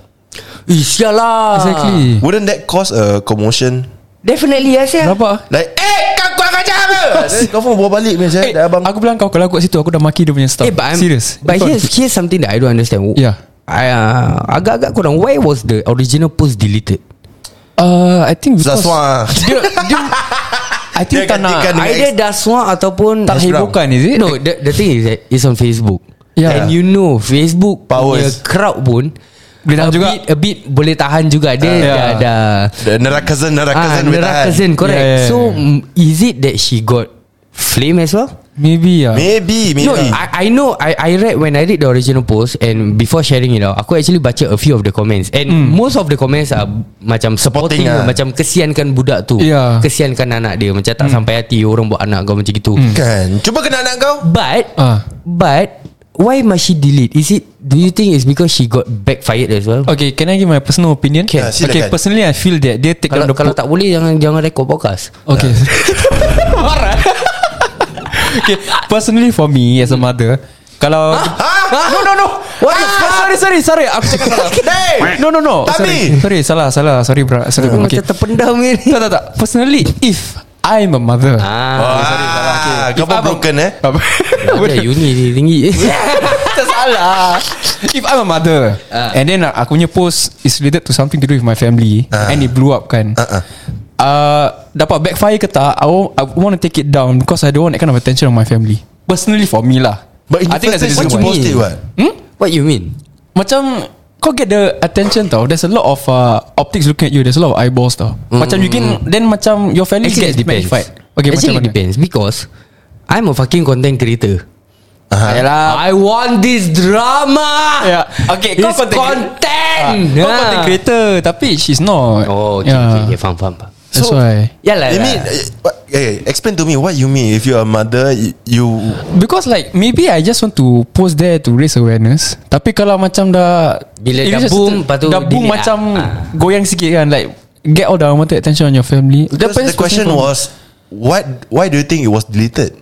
Speaker 3: Eh sial lah
Speaker 2: Ah.
Speaker 4: Exactly
Speaker 2: Wouldn't that cause a commotion
Speaker 3: Definitely lah sial
Speaker 4: Berapa ah?
Speaker 2: Like Eh kau kurang ajar apa Then Kau pun bawa balik macam
Speaker 4: Eh,
Speaker 2: Dah abang
Speaker 4: aku bilang kau Kalau aku kat situ Aku dah maki dia punya
Speaker 3: Eh,
Speaker 4: staff
Speaker 3: but I'm,
Speaker 4: Serious
Speaker 3: But here's, here's something that I don't understand.
Speaker 4: Yeah.
Speaker 3: I, uh, agak-agak kurang. Why was the original post deleted?
Speaker 4: uh, I think because
Speaker 2: That's why
Speaker 4: dia,
Speaker 2: [LAUGHS]
Speaker 4: dia, I think
Speaker 2: Dia
Speaker 4: tak nak
Speaker 2: gantikan- Dengan
Speaker 3: Either Daswa ataupun
Speaker 4: Tak hebohkan is it
Speaker 3: No, the, the thing is that it's on Facebook.
Speaker 4: Yeah.
Speaker 3: And you know Facebook punya
Speaker 2: Powers.
Speaker 3: crowd pun
Speaker 4: Boleh tahan
Speaker 3: a
Speaker 4: juga.
Speaker 3: bit, a bit boleh tahan juga dia
Speaker 4: Yeah.
Speaker 3: yeah. dah, dah
Speaker 2: The Nerakazan
Speaker 3: ah,
Speaker 2: Nerakazan will tahan.
Speaker 3: Nerakazan correct
Speaker 4: Yeah, yeah,
Speaker 3: so
Speaker 4: yeah.
Speaker 3: mm, is it that she got flame as well
Speaker 4: Maybe ah.
Speaker 2: Maybe
Speaker 3: No,
Speaker 2: Maybe
Speaker 3: I, I know I, I read when I read the original post and before sharing it out, aku actually baca a few of the comments and mm. most of the comments are macam supporting,
Speaker 2: Supporting
Speaker 3: lah.
Speaker 2: lah.
Speaker 3: macam kesiankan budak tu,
Speaker 4: Yeah.
Speaker 3: kesiankan anak dia, macam tak sampai hati orang buat anak kau macam gitu.
Speaker 2: Kan Cuba kena anak kau
Speaker 3: But
Speaker 4: Ah.
Speaker 3: but why must she delete? Is it do you think it's because she got backfired as well?
Speaker 4: Okay can I give my personal opinion
Speaker 2: Can. Ah, silakan.
Speaker 4: Okay personally I feel that Dia take
Speaker 3: Kalau
Speaker 4: down the
Speaker 3: kalau
Speaker 4: po-
Speaker 3: [LAUGHS] tak boleh jangan jangan rekod podcast.
Speaker 4: Okay Marah okay, personally for me as a mother, kalau
Speaker 3: Ah,
Speaker 4: no no no. What the fuck? Sorry sorry sorry. Aku cakap
Speaker 3: [LAUGHS]
Speaker 4: salah.
Speaker 2: Hey!
Speaker 4: No no no.
Speaker 2: Tami!
Speaker 4: Sorry, sorry salah salah. Sorry bro. Sorry.
Speaker 3: Aku Hmm.
Speaker 4: Okay.
Speaker 3: Macam terpendam ni
Speaker 4: Tak tak tak. Personally, if I'm a mother.
Speaker 3: Ah,
Speaker 2: Ah, kau pun broken eh
Speaker 3: Ada uni ni tinggi
Speaker 4: Tak salah If I'm a mother
Speaker 3: Ah.
Speaker 4: And then uh, aku punya post Is related to something to do with my family
Speaker 2: Ah.
Speaker 4: And it blew up kan
Speaker 2: Ah, ah.
Speaker 4: uh, Dapat backfire ke tak I, wa- I want to take it down Because I don't want that kind of attention On my family Personally for me lah
Speaker 2: But in
Speaker 4: I
Speaker 2: the
Speaker 4: think
Speaker 2: first
Speaker 4: that's the
Speaker 2: place
Speaker 4: reason
Speaker 2: What you
Speaker 4: why
Speaker 2: post it what
Speaker 3: Hmm? What you mean?
Speaker 4: Macam Kau get the attention tau There's a lot of uh, Optics looking at you There's a lot of eyeballs tau Macam you can Then macam Your family
Speaker 3: Actually it
Speaker 4: gets
Speaker 3: depends
Speaker 4: magnified Okay
Speaker 3: Actually it
Speaker 4: macam mana
Speaker 3: depends Because I'm a fucking content creator Ha.
Speaker 2: Ah.
Speaker 4: Yalah
Speaker 3: I want this drama
Speaker 4: Yeah.
Speaker 3: Okay kau
Speaker 4: It's
Speaker 3: content Ha.
Speaker 4: Ah,
Speaker 3: content
Speaker 4: Kau content creator Tapi she's not
Speaker 3: Oh okay, yeah.
Speaker 4: Yeah.
Speaker 3: okay, okay Faham faham faham.
Speaker 4: That's
Speaker 2: So-
Speaker 4: why
Speaker 3: Yalah
Speaker 2: I mean
Speaker 3: lah.
Speaker 2: eh, what, eh, Explain to me What you mean If you're a mother You, you
Speaker 4: Because like Maybe I just want to Post there to raise awareness Tapi kalau macam dah
Speaker 3: Bila dah
Speaker 4: if it's just-
Speaker 3: boom, lepas tu
Speaker 4: Dah boom
Speaker 3: delete lah.
Speaker 4: macam
Speaker 3: Ah.
Speaker 4: Goyang sikit kan Like Get all the unwanted attention On your family
Speaker 2: Because the question was What Why do you think it was deleted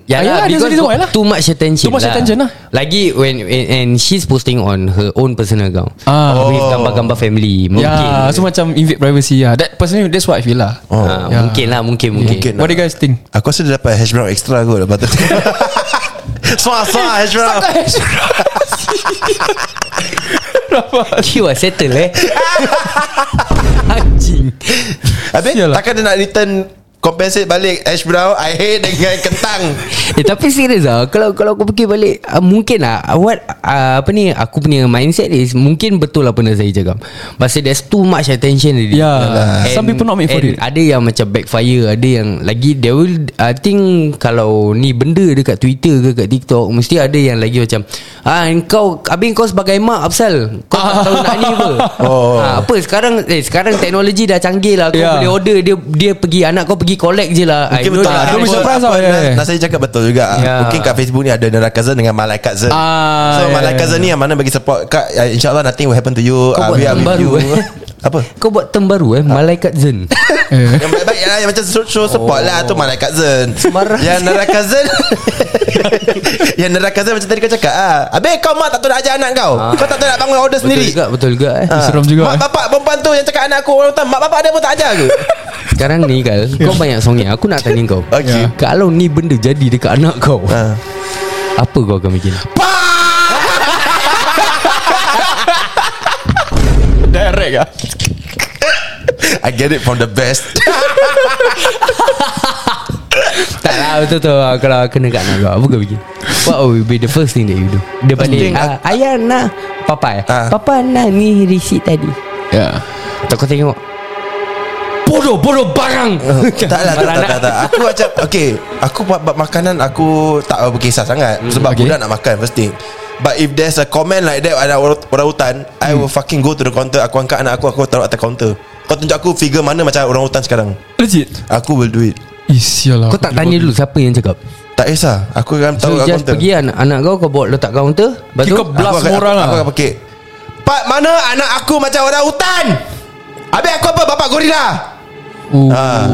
Speaker 3: Yalah,
Speaker 4: Ayalah, there's a
Speaker 3: because
Speaker 4: reason why lah.
Speaker 3: too much attention
Speaker 4: Too much
Speaker 3: lah.
Speaker 4: attention lah.
Speaker 3: Lagi when and, and she's posting on her own personal account
Speaker 4: Ah.
Speaker 3: with gambar-gambar family mungkin.
Speaker 4: Yeah So macam invade privacy yeah. That personally That's what I feel lah
Speaker 2: Oh.
Speaker 3: Ah, Mungkin lah mungkin mungkin. [LAUGHS]
Speaker 2: Mungkin.
Speaker 4: What do you guys think?
Speaker 2: Aku rasa dia dapat hash brown extra kot Lepas tu [LAUGHS] Smart smart hash brown
Speaker 3: You are settle eh. Anjing.
Speaker 2: Habis
Speaker 4: Sial lah.
Speaker 2: takkan dia nak return Compensate balik hash brown I hate dengan kentang
Speaker 3: Eh tapi serius lah Kalau kalau aku fikir balik uh, Mungkin lah uh, What uh, Apa ni Aku punya mindset is Mungkin betul lah Benda saya cakap Pasal there's too much attention already
Speaker 4: Yeah. Ya, Some people not made for
Speaker 3: and
Speaker 4: it.
Speaker 3: Ada yang macam backfire Ada yang Lagi they will I think Kalau ni benda Dekat Twitter ke Dekat TikTok Mesti ada yang lagi macam Ah kau Habis kau sebagai mak Apsal Kau tak tahu nak ni
Speaker 4: [LAUGHS]
Speaker 3: apa
Speaker 2: Oh.
Speaker 3: ah, Apa sekarang Eh sekarang teknologi dah canggih lah Kau
Speaker 4: Yeah.
Speaker 3: boleh order Dia dia pergi Anak kau pergi collect je lah I know
Speaker 2: Mungkin betul
Speaker 3: that.
Speaker 2: lah
Speaker 4: don't be
Speaker 2: Apa-
Speaker 4: surprised
Speaker 2: apa
Speaker 4: lah,
Speaker 2: Nas-
Speaker 3: eh.
Speaker 4: yeah.
Speaker 2: Nasir cakap betul juga
Speaker 3: Yeah.
Speaker 2: Mungkin kat Facebook ni Ada neraka Zen dengan malaikat Zen
Speaker 4: Ah,
Speaker 3: ya,
Speaker 2: So
Speaker 4: yeah,
Speaker 2: malaikat Zen ni Yang mana bagi support Kak ah, InsyaAllah nothing will happen to you
Speaker 3: Kau
Speaker 2: Ah,
Speaker 3: buat
Speaker 2: we are
Speaker 3: term
Speaker 2: with
Speaker 3: baru,
Speaker 2: you.
Speaker 3: eh.
Speaker 2: [LAUGHS] Apa
Speaker 3: Kau buat term baru eh Malaikat Zen
Speaker 2: Yang baik-baik lah Yang macam show, show support lah
Speaker 3: Oh.
Speaker 2: Tu malaikat Zen
Speaker 3: Sembarang.
Speaker 2: Yang neraka
Speaker 3: [LAUGHS]
Speaker 2: Zen Yang neraka Zen Macam tadi kau cakap ah. Habis kau mak tak tahu nak ajar anak kau Kau tak tahu nak bangun
Speaker 3: [LAUGHS] Ah.
Speaker 2: order
Speaker 3: Betul
Speaker 2: sendiri
Speaker 3: juga Betul juga eh.
Speaker 2: Ah.
Speaker 4: Seram juga,
Speaker 2: Mak
Speaker 4: eh.
Speaker 2: bapak perempuan tu Yang cakap anak aku orang hutan Mak bapak dia pun tak ajar
Speaker 3: [LAUGHS]
Speaker 2: ke
Speaker 3: Sekarang ni Kal [LAUGHS] Kau banyak songnya Aku nak tanya kau Ya.
Speaker 2: Okay.
Speaker 3: Kalau ni benda jadi Dekat anak kau
Speaker 2: Ah.
Speaker 3: Apa kau akan bikin
Speaker 4: Direct
Speaker 3: ah.
Speaker 4: lah
Speaker 2: [LAUGHS] I get it from the best
Speaker 3: Tak lah betul-betul Kalau kena kat anak kau Apa kau bikin What will be the first thing that you do Dia balik
Speaker 2: thing,
Speaker 3: ah, Ayah nak Papa eh
Speaker 2: Ah.
Speaker 3: Papa nak ni receipt tadi
Speaker 4: Yeah
Speaker 3: Tak kau tengok Bodoh-bodoh barang
Speaker 2: [LAUGHS] tak
Speaker 3: [LAUGHS]
Speaker 2: lah, tak, tak, tak, tak. Aku macam Okay Aku buat, buat makanan Aku tak berkisah sangat
Speaker 3: Hmm,
Speaker 2: Sebab
Speaker 4: okay.
Speaker 2: okay. budak nak makan First thing But if there's a comment like that Ada orang orang hutan I
Speaker 3: Hmm.
Speaker 2: will fucking go to the counter Aku angkat anak aku Aku taruh atas counter Kau tunjuk aku figure mana Macam orang hutan sekarang
Speaker 4: Legit
Speaker 2: Aku will do it
Speaker 4: Eh sial lah
Speaker 3: Kau tak tanya dulu Siapa yang cakap
Speaker 2: Tak kisah Aku akan
Speaker 3: So
Speaker 2: taruh kat
Speaker 3: just
Speaker 2: counter
Speaker 3: pergi anak, anak kau Kau bawa letak counter Lepas tu
Speaker 4: Kau blast
Speaker 2: akan-
Speaker 4: semua orang
Speaker 2: aku,
Speaker 4: lah
Speaker 2: aku akan pakai Pak mana anak aku Macam orang hutan Habis aku apa Bapak gorila
Speaker 4: Ooh, Oh,
Speaker 2: Ah.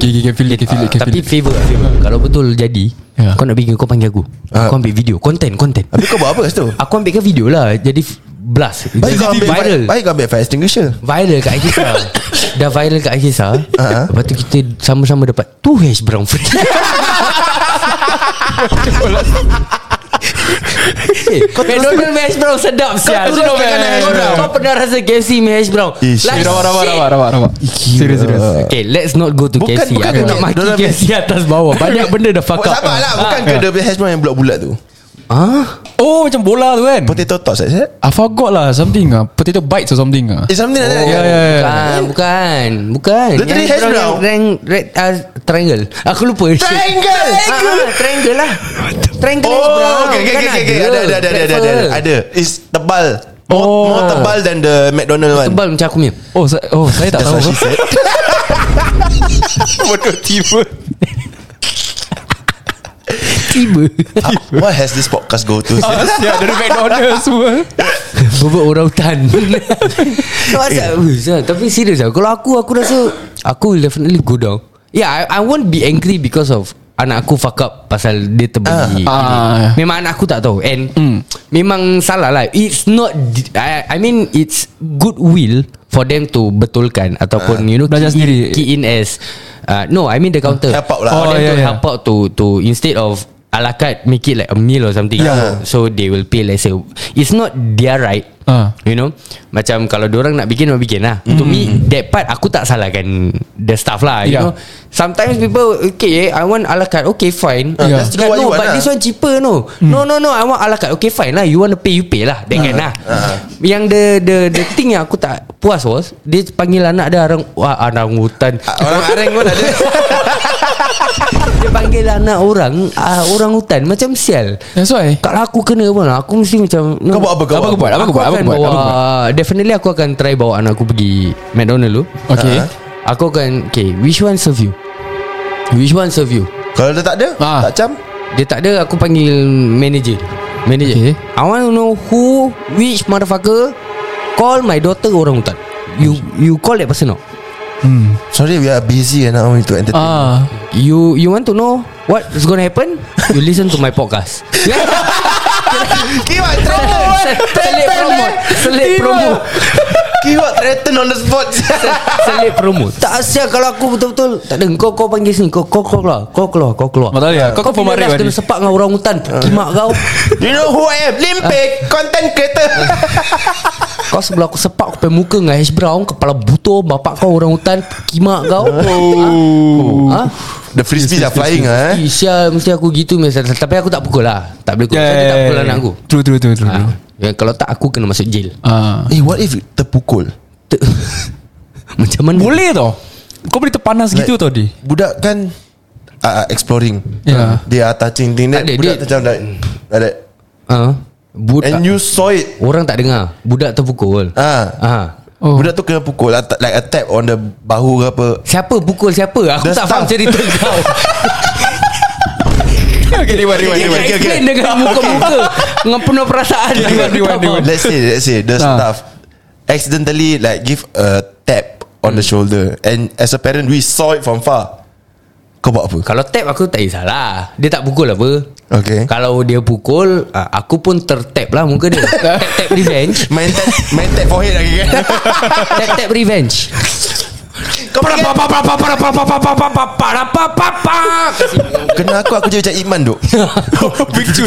Speaker 4: Okay okay can feel it can feel it can
Speaker 3: Ah, Tapi
Speaker 4: feel it
Speaker 3: favor, favor. Kalau betul jadi yeah.
Speaker 4: Ya.
Speaker 3: Kau nak pergi Kau panggil aku
Speaker 2: Ah.
Speaker 3: Aku ambil video Content content
Speaker 2: Habis kau buat apa kat situ
Speaker 3: Aku ambil ke video lah Jadi f- blast
Speaker 2: Baik kau
Speaker 3: Jadi
Speaker 2: ambil
Speaker 3: viral
Speaker 2: Baik kau ambil fire extinguisher
Speaker 3: Viral kat
Speaker 2: [LAUGHS]
Speaker 3: Akisar Dah viral kat Akisar
Speaker 2: Ah.
Speaker 3: Lepas tu kita sama-sama dapat Two hash brown free Eh, McDonald hash brown sedap sial
Speaker 2: turun
Speaker 3: Kau
Speaker 2: makanan hash
Speaker 3: pernah-
Speaker 2: brown.
Speaker 3: Kau pernah rasa KFC punya hash brown
Speaker 2: Ish.
Speaker 3: Like
Speaker 4: Eh, Rabak rabak
Speaker 3: shit.
Speaker 4: rabak rabak rabak Serius serius
Speaker 3: Okay let's not go to
Speaker 2: Uh. Bukan-
Speaker 3: KFC
Speaker 2: bukan
Speaker 3: Aku
Speaker 2: ke-
Speaker 3: nak maki
Speaker 2: Dorang-
Speaker 3: KFC atas
Speaker 2: [LAUGHS]
Speaker 3: bawah Banyak benda dah fuck
Speaker 2: Bukan
Speaker 3: up
Speaker 2: sabar lah
Speaker 4: Ah.
Speaker 2: Bukan ke dia punya hash brown Yang bulat-bulat tu
Speaker 3: Ah,
Speaker 4: Oh macam bola tu kan
Speaker 2: Potato tots eh?
Speaker 4: I forgot lah something ah potato bites or something ah.
Speaker 2: It's something like that Eh,
Speaker 4: yeah, yeah, yeah.
Speaker 3: Bukan Bukan Bukan
Speaker 2: ya, Dia tadi hash brown.
Speaker 3: Yang red, uh, Triangle Aku lupa
Speaker 2: Triangle! eh,
Speaker 3: ah, ah, Triangle lah Triangle hash brown
Speaker 2: Oh okay, okay,
Speaker 3: Kan
Speaker 2: okay, okay, okay. Ada, ada, ada, ada, ada, ada, ada. It's tebal More,
Speaker 4: Oh.
Speaker 2: more tebal than the McDonald one
Speaker 3: Tebal macam aku punya
Speaker 4: Oh, sa- oh saya tak
Speaker 2: That's
Speaker 4: tahu.
Speaker 2: what she said
Speaker 3: [LAUGHS]
Speaker 4: Bodoh tiba.
Speaker 3: Tiba Ah,
Speaker 2: What Ah, has this podcast
Speaker 3: [LAUGHS]
Speaker 2: go to
Speaker 4: Ya dari McDonald's semua.
Speaker 3: Bobot orang
Speaker 4: [LAUGHS]
Speaker 3: hutan Masa- Ustaz, Tapi serius lah Kalau aku Aku rasa Aku will definitely go down Yeah I, I won't be angry Because of anak aku fuck up pasal dia terbagi.
Speaker 4: Ah. Hmm. Ah.
Speaker 3: Memang anak aku tak tahu and memang salah lah. It's not I, I mean it's goodwill for them to betulkan ataupun you know
Speaker 4: Ah. Belajar
Speaker 3: key in-
Speaker 4: sendiri.
Speaker 3: key in as uh, no I mean the counter
Speaker 2: Help out lah.
Speaker 3: for
Speaker 4: Oh,
Speaker 3: them to
Speaker 4: yeah, yeah.
Speaker 3: help out to to instead of a la carte make it like a meal or something
Speaker 2: Yeah.
Speaker 3: so they will pay let's say it's not their right
Speaker 4: Ah.
Speaker 3: You know Macam kalau orang nak bikin Mereka bikin lah To me
Speaker 2: Mm-hmm.
Speaker 3: That part aku tak salahkan The staff lah You
Speaker 4: Yeah.
Speaker 3: know Sometimes people Okay I want a la carte Okay fine
Speaker 2: Ah,
Speaker 4: Yeah.
Speaker 3: yeah.
Speaker 2: just do what you
Speaker 3: No
Speaker 2: want
Speaker 3: but
Speaker 2: lah. Mm.
Speaker 3: this one cheaper no No no no I want a la carte Okay fine lah You want to pay You pay lah
Speaker 2: Ah.
Speaker 3: That kind lah Yang the the the thing yang aku tak puas was Dia panggil anak dia orang Wah orang hutan
Speaker 2: Orang areng pun ada
Speaker 3: [LAUGHS] Dia panggil anak orang uh, Orang hutan Macam
Speaker 2: Ya.
Speaker 3: sial
Speaker 4: That's why
Speaker 3: Kalau lah aku kena pun Aku mesti macam
Speaker 2: Kau buat apa kau?
Speaker 4: Apa kau buat? Apa
Speaker 3: aku
Speaker 4: kau buat? Apa
Speaker 3: akan
Speaker 4: kau buat? Apa
Speaker 3: bawa,
Speaker 4: kau buat?
Speaker 3: Definitely aku akan try bawa anak aku pergi McDonald dulu
Speaker 2: Ah.
Speaker 4: Okay
Speaker 3: Aku akan Okay which one serve you Which one serve you
Speaker 2: Kalau dia tak ada
Speaker 4: Ah.
Speaker 2: Tak cam
Speaker 3: Dia tak ada Aku panggil manager Manager okay.
Speaker 4: Okay.
Speaker 3: I want to know who Which motherfucker Call my daughter orang hutan You you call that person out
Speaker 2: Sorry we are busy and now we to entertain
Speaker 4: Ah,
Speaker 3: You you want to know What is going to happen You listen to my
Speaker 4: [LAUGHS]
Speaker 3: podcast [LAUGHS]
Speaker 2: Kiwak threaten
Speaker 3: Selip promo Selip promo
Speaker 2: Kiwak threaten on the spot
Speaker 3: [LAUGHS] Selip promo Tak asyik kalau aku betul-betul Tak ada Kau kau panggil sini Kau kau kau keluar Kau keluar Kau keluar Ah.
Speaker 4: Tak boleh lah. Kau confirm
Speaker 3: pilih
Speaker 4: marah
Speaker 3: lah, Kena
Speaker 4: tadi.
Speaker 3: sepak dengan orang [LAUGHS] hutan Kimak kau
Speaker 2: You know who I am
Speaker 4: Ah.
Speaker 2: Limpik Content creator
Speaker 3: Kau sebelum aku sepak Aku pengen muka dengan hash brown Kepala buto Bapak kau orang hutan Kimak
Speaker 2: [LAUGHS]
Speaker 3: kau Ha? Ha?
Speaker 2: The frisbee dah flying ah. Oh. eh.
Speaker 3: Eh, Syah mesti aku gitu mesti- Tapi aku tak pukul lah Tak boleh pukul
Speaker 4: yeah,
Speaker 3: Saya
Speaker 4: yeah,
Speaker 3: tak
Speaker 4: yeah.
Speaker 3: pukul anak aku
Speaker 4: ya, True true true true.
Speaker 3: ha. Ya, Kalau tak aku kena masuk jail
Speaker 4: Ah.
Speaker 2: Eh what if terpukul
Speaker 3: Ter- [LAUGHS] Macam mana
Speaker 4: Boleh tau Kau boleh terpanas gitu tau dia
Speaker 2: Budak kan uh, Exploring
Speaker 4: Ya.
Speaker 2: They are touching thing
Speaker 3: Tak
Speaker 2: that
Speaker 3: ada,
Speaker 2: Budak
Speaker 3: dia-
Speaker 2: macam like, like that
Speaker 3: ha?
Speaker 2: And
Speaker 3: Budak
Speaker 2: you saw it
Speaker 3: Orang tak dengar Budak terpukul
Speaker 2: Ah,
Speaker 3: ha.
Speaker 4: Oh.
Speaker 2: Budak tu kena pukul lah, Like a tap on the Bahu ke apa
Speaker 3: Siapa pukul siapa Aku
Speaker 2: The
Speaker 3: tak faham
Speaker 2: staff. [LAUGHS]
Speaker 3: cerita kau
Speaker 4: Okay rewind rewind
Speaker 3: Dia nak
Speaker 2: okay, okay.
Speaker 3: explain dengan muka-muka Dengan penuh perasaan
Speaker 4: Okay,
Speaker 3: Aku tak
Speaker 4: rewind,
Speaker 3: faham.
Speaker 4: rewind.
Speaker 2: Let's say Let's say The
Speaker 4: Ah.
Speaker 2: staff Accidentally like Give a tap On
Speaker 3: Hmm.
Speaker 2: the shoulder And as a parent We saw it from far Kau buat apa
Speaker 3: Kalau tap aku tak kisahlah Dia tak pukul apa
Speaker 2: Okay
Speaker 3: Kalau dia pukul ah, Aku pun tertap lah muka [LAUGHS] dia Tap-tap revenge
Speaker 2: Main tap Main tap forehead lagi kan
Speaker 3: Tap-tap revenge
Speaker 2: Kau pergi
Speaker 3: Pa-pa-pa-pa-pa-pa-pa-pa-pa-pa-pa.
Speaker 2: Kena aku Aku jadi macam Iman duk Picture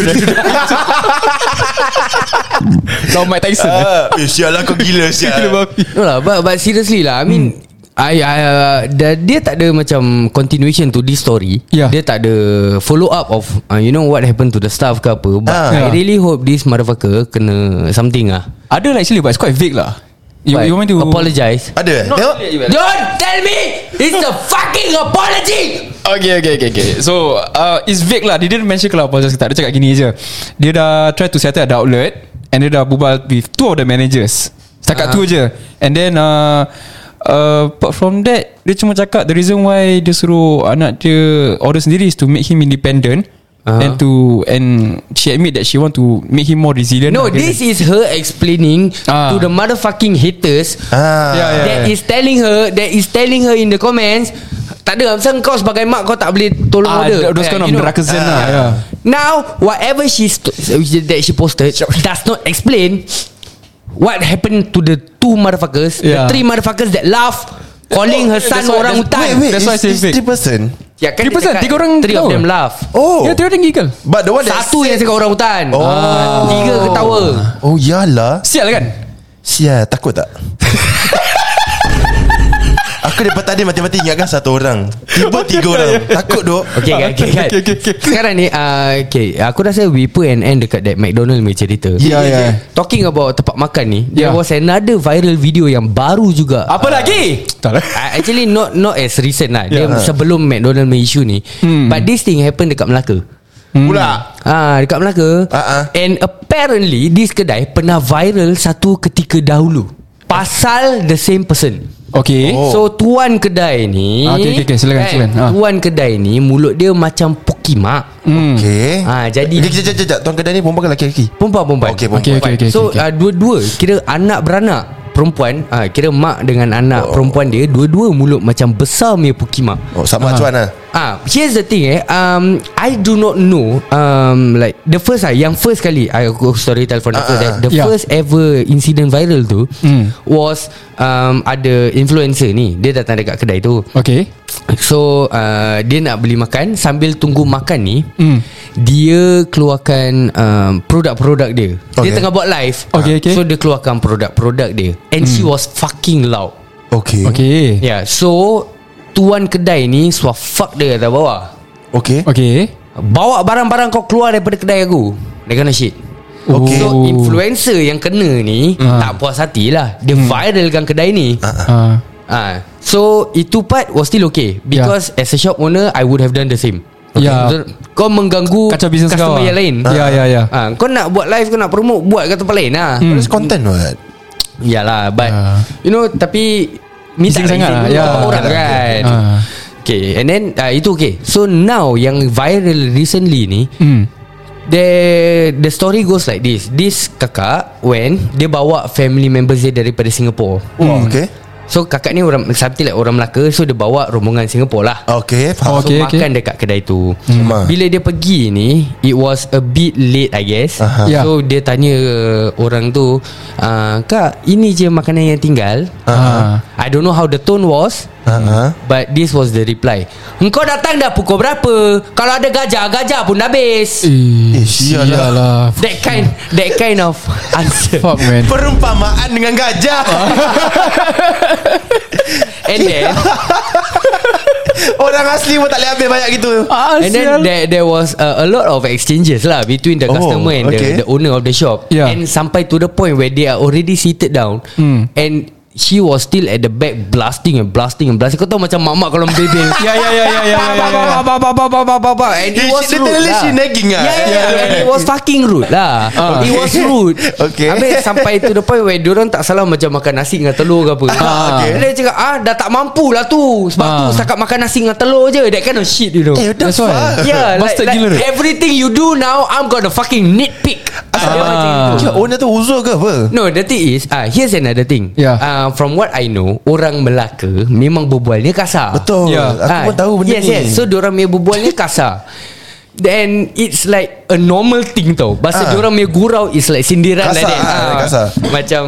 Speaker 4: Kau Mike Tyson
Speaker 3: [LAUGHS]
Speaker 4: eh?
Speaker 2: Ah, [LAUGHS] Eh sial lah kau
Speaker 3: Ya.
Speaker 2: gila sial
Speaker 4: Gila babi
Speaker 3: No lah but, but seriously lah I mean
Speaker 4: Hmm.
Speaker 3: I, I, uh, da- dia tak ada macam continuation to this story
Speaker 4: Yeah.
Speaker 3: Dia tak ada follow up of uh, You know what happened to the staff ke apa But I
Speaker 2: Ah.
Speaker 4: Yeah.
Speaker 3: really hope this motherfucker Kena something ah.
Speaker 4: Ada lah actually But it's quite vague lah You,
Speaker 3: But
Speaker 4: you want me to
Speaker 3: Apologize
Speaker 2: Ada eh? Tengok
Speaker 3: Don't tell me It's a fucking apology
Speaker 4: Okay okay okay, okay. So uh, It's vague lah Dia didn't mention kalau apologize ke tak Dia cakap gini je Dia dah try to settle at the outlet And dia dah berbual With two of the managers
Speaker 3: Ah.
Speaker 4: Setakat tu je And then uh, uh, Apart from that Dia cuma cakap The reason why Dia suruh anak dia Order sendiri Is to make him independent
Speaker 3: Ah.
Speaker 4: And to And she admit that She want to Make him more resilient
Speaker 3: No
Speaker 4: lah, dia-
Speaker 3: this is her explaining
Speaker 4: Ah.
Speaker 3: To the motherfucking haters Ya,
Speaker 2: Ah,
Speaker 4: Yeah, yeah.
Speaker 3: That is telling her That is telling her in the comments Tak ada Macam kau sebagai mak Kau tak boleh tolong
Speaker 4: Ah,
Speaker 3: order
Speaker 4: those kind
Speaker 3: Yeah,
Speaker 4: of
Speaker 3: you know.
Speaker 4: nerakesan lah,
Speaker 3: Ah.
Speaker 4: yeah.
Speaker 3: Now Whatever she st- That she posted Does not explain What happened to the Two motherfuckers
Speaker 4: Yeah.
Speaker 3: The three motherfuckers that laugh Calling her son
Speaker 4: That's why-
Speaker 3: orang hutan
Speaker 4: that's-
Speaker 2: Wait wait Oh, That's
Speaker 4: That's why
Speaker 2: why
Speaker 4: I say
Speaker 2: it's, it's
Speaker 4: fake.
Speaker 2: three person
Speaker 3: Ya, kan dia
Speaker 4: Three person,
Speaker 3: cakap
Speaker 4: tiga orang
Speaker 3: Three of
Speaker 4: tahu.
Speaker 3: them laugh
Speaker 2: Oh
Speaker 4: Ya, dia orang giggle
Speaker 2: But the one that
Speaker 3: Satu yang cakap orang hutan
Speaker 2: Oh.
Speaker 3: Ah, Tiga ketawa
Speaker 2: Oh yalah
Speaker 4: Sial kan
Speaker 2: Sial takut tak [LAUGHS] Aku daripada tadi mati-mati ingatkan satu orang Tiba tiga orang Takut dok
Speaker 3: Okay, okay, okay, okay, okay, okay. Sekarang ni uh, okay, Aku rasa we put an end Dekat that McDonald punya cerita
Speaker 4: Ya, ya.
Speaker 3: Talking about tempat makan ni There
Speaker 4: Yeah.
Speaker 3: was another viral video Yang baru juga
Speaker 4: Apa lagi Tak lah
Speaker 3: Uh, Actually not not as recent lah Dia
Speaker 4: Yeah.
Speaker 3: sebelum McDonald punya issue ni
Speaker 4: Hmm.
Speaker 3: But this thing happen dekat Melaka
Speaker 2: Pula
Speaker 3: Ah, Dekat Melaka
Speaker 2: Ah, ah.
Speaker 3: And apparently This kedai pernah viral Satu ketika dahulu Pasal the same person
Speaker 4: Okay
Speaker 2: Oh.
Speaker 3: Oh. So tuan kedai ni eh,
Speaker 4: Ah, okey, okey, okey. Silakan, silakan. Ah.
Speaker 3: Tuan kedai ni Mulut dia macam pokimak
Speaker 4: Hmm.
Speaker 2: Okay
Speaker 3: Ah, jadi-
Speaker 2: Okay kejap kejap kejap Tuan kedai ni perempuan ke lelaki-lelaki
Speaker 3: Perempuan perempuan
Speaker 2: Okey, perempuan.
Speaker 4: Okey, okey, okey,
Speaker 3: So
Speaker 4: okey.
Speaker 3: Uh, dua-dua Kira anak beranak perempuan ah, Kira mak dengan anak oh. perempuan dia Dua-dua mulut macam besar punya pukima
Speaker 2: Oh sama acuan lah
Speaker 3: Ah, here's the thing eh. Um, I do not know. Um, like the first ah, yang first kali I aku story telefon uh,
Speaker 2: Ah,
Speaker 3: first.
Speaker 2: ah,
Speaker 3: Eh,
Speaker 2: ah.
Speaker 3: the
Speaker 4: Yeah.
Speaker 3: yeah. first ever incident viral tu was um, ada influencer ni. Dia datang dekat kedai tu.
Speaker 4: Okay
Speaker 3: So uh, dia nak beli makan sambil tunggu makan ni
Speaker 4: Hmm.
Speaker 3: dia keluarkan um, produk-produk dia. Okay. Dia
Speaker 2: Okay.
Speaker 3: tengah buat live.
Speaker 4: Okay, okay. Hmm.
Speaker 3: So dia keluarkan produk-produk dia and she was fucking loud.
Speaker 2: Okay Okay,
Speaker 4: Okay
Speaker 3: Yeah, so tuan kedai ni suah fuck dia atas bawah.
Speaker 2: okay.
Speaker 4: Okay
Speaker 3: Bawa barang-barang kau keluar daripada kedai aku Dia kena shit
Speaker 2: Okay.
Speaker 4: Oh.
Speaker 3: So influencer yang kena ni
Speaker 4: Ah.
Speaker 3: Tak puas hatilah Dia
Speaker 4: Hmm.
Speaker 3: viralkan kedai ni
Speaker 4: uh,
Speaker 3: Ah, So itu part was still okay Because as a shop owner I would have done the same
Speaker 4: Yeah.
Speaker 3: So, Kau mengganggu
Speaker 4: Kacau bisnes kau
Speaker 3: Customer
Speaker 4: ah.
Speaker 3: yang lain
Speaker 4: Ya, ya, ya.
Speaker 3: Ah, Kau nak buat live Kau nak promote Buat kat tempat lain lah
Speaker 2: That's content what
Speaker 3: Yalah But
Speaker 4: Hmm. Ah.
Speaker 3: You know Tapi Minta
Speaker 4: Bising sangat lah,
Speaker 3: dulu
Speaker 4: ya.
Speaker 3: sama orang kan
Speaker 4: Ah.
Speaker 3: Okay And then uh, Itu okay So now Yang viral recently ni
Speaker 4: Hmm.
Speaker 3: The the story goes like this. This kakak when dia bawa family members dia daripada Singapore.
Speaker 2: Oh, okay
Speaker 3: So kakak ni orang something like orang Melaka so dia bawa rombongan Singapore lah.
Speaker 2: Okay faham
Speaker 4: Oh. Okay,
Speaker 3: so
Speaker 4: okay.
Speaker 3: makan dekat kedai tu.
Speaker 2: Ma.
Speaker 3: Bila dia pergi ni it was a bit late I guess.
Speaker 2: Aha.
Speaker 4: Yeah.
Speaker 3: So dia tanya uh, orang tu, "Ah, kak, ini je makanan yang tinggal."
Speaker 4: Ah.
Speaker 3: I don't know how the tone was.
Speaker 2: Uh-huh.
Speaker 3: But this was the reply Engkau datang dah pukul berapa Kalau ada gajah Gajah pun dah habis
Speaker 2: Eh,
Speaker 4: Eh,
Speaker 2: sial lah.
Speaker 4: lah.
Speaker 3: That kind That kind of answer
Speaker 4: Fuck
Speaker 2: [LAUGHS]
Speaker 4: man
Speaker 2: Perumpamaan dengan gajah
Speaker 3: And then
Speaker 2: [LAUGHS] Orang asli pun tak boleh ambil banyak gitu
Speaker 4: Ah,
Speaker 3: And then there, there was uh, a lot of exchanges lah Between the
Speaker 2: Oh,
Speaker 3: customer and
Speaker 2: okay.
Speaker 3: the, the owner of the shop
Speaker 4: Yeah.
Speaker 3: And
Speaker 4: Hmm.
Speaker 3: sampai to the point Where they are already seated down And She was still at the back Blasting and blasting and blasting Kau tahu macam mak-mak kalau bebel
Speaker 4: [LAUGHS] Ya ya ya ya ya ya, ya, ya.
Speaker 3: And it
Speaker 2: She-
Speaker 3: was
Speaker 2: she
Speaker 3: rude
Speaker 2: literally
Speaker 3: lah
Speaker 2: she nagging lah.
Speaker 3: Yeah, yeah, yeah.
Speaker 2: Yeah.
Speaker 3: And it was fucking rude lah
Speaker 2: Okay.
Speaker 3: It was rude
Speaker 2: Okay.
Speaker 3: Habis sampai to the point Where diorang tak salah Macam makan nasi dengan telur ke apa
Speaker 2: okay.
Speaker 3: Dia cakap ah, Dah tak mampu lah tu Sebab
Speaker 4: Ah.
Speaker 3: tu setakat makan nasi dengan telur je That kind of shit you know
Speaker 2: Eh, what the
Speaker 4: That's why.
Speaker 2: fuck
Speaker 3: Yeah like,
Speaker 4: [LAUGHS] Bastard
Speaker 3: like
Speaker 4: gila dia.
Speaker 3: Everything you do now I'm gonna fucking nitpick ah. Dia macam gitu.
Speaker 2: Kira owner tu uzur ke apa
Speaker 3: No the thing is ah, Here's another thing
Speaker 4: Yeah.
Speaker 3: Ah, From what I know Orang Melaka Memang berbualnya kasar
Speaker 2: Betul
Speaker 4: Ya.
Speaker 2: Aku
Speaker 3: Ah,
Speaker 2: pun tahu
Speaker 3: yes,
Speaker 2: benda ni
Speaker 3: Yes yes So diorang punya berbualnya kasar Then it's like a normal thing tau Bahasa
Speaker 2: Ah.
Speaker 3: diorang punya gurau is like sindiran
Speaker 2: Kasar,
Speaker 3: like that
Speaker 2: ah,
Speaker 3: Ah.
Speaker 2: kasar.
Speaker 3: Macam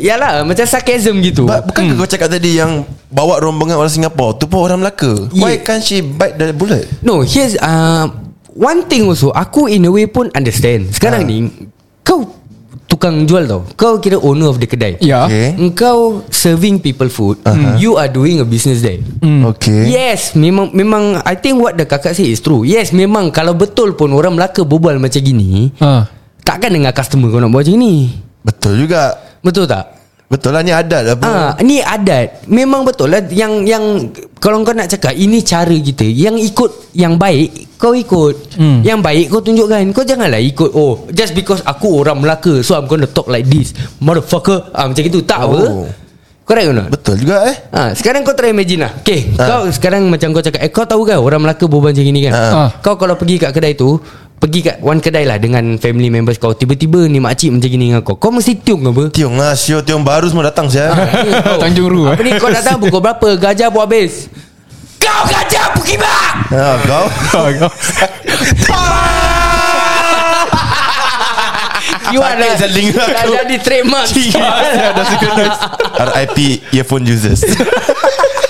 Speaker 3: Yalah macam sarcasm gitu
Speaker 2: But bukan hmm. kau cakap tadi yang bawa rombongan orang Singapura tu pun orang Melaka? Yeah. Why
Speaker 3: Yeah.
Speaker 2: can't she bite the bullet?
Speaker 3: No here's uh, One thing also Aku in a way pun understand Sekarang
Speaker 2: Ah.
Speaker 3: ni Kau Tukang jual tau Kau kira owner of the kedai
Speaker 4: Ya.
Speaker 2: Okay.
Speaker 3: Engkau serving people food uh-huh. You are doing a business there
Speaker 2: Mm. Okay.
Speaker 3: Yes Memang memang I think what the kakak say is true Yes memang Kalau betul pun Orang Melaka berbual macam gini
Speaker 4: Ah.
Speaker 3: Takkan dengar customer kau nak buat macam ni
Speaker 2: Betul juga.
Speaker 3: Betul tak?
Speaker 2: Betul lah ni adat apa.
Speaker 3: Ah, ni adat. Memang betul lah yang yang kalau kau nak cakap ini cara kita. Yang ikut yang baik kau ikut. Hmm. Yang baik kau tunjukkan. Kau janganlah ikut oh just because aku orang Melaka so I'm going to talk like this. Motherfucker. Ah, macam itu tak oh. apa.
Speaker 2: Oh.
Speaker 3: Correct or not?
Speaker 2: Betul juga eh.
Speaker 3: Ha, sekarang kau try imagine lah Okay
Speaker 2: Ah.
Speaker 3: Kau sekarang macam kau cakap Eh kau tahu kan Orang Melaka berbual macam gini kan
Speaker 4: Ah.
Speaker 3: Kau kalau pergi kat kedai tu Pergi kat one kedai lah Dengan family members kau Tiba-tiba ni makcik macam gini dengan kau Kau mesti tiung apa
Speaker 2: Tiong lah Sio Tiong baru semua datang saya.
Speaker 3: Eh, kau.
Speaker 4: Tanjung Ru,
Speaker 3: Apa ni
Speaker 4: eh?
Speaker 3: kau
Speaker 4: [LAUGHS]
Speaker 3: datang pukul berapa Gajah pun habis Kau gajah pergi bang
Speaker 2: ha kau.
Speaker 3: You are
Speaker 2: Sakit
Speaker 3: dah,
Speaker 2: seling
Speaker 3: dah
Speaker 2: aku.
Speaker 3: jadi trademark
Speaker 2: [LAUGHS] RIP earphone users. [LAUGHS]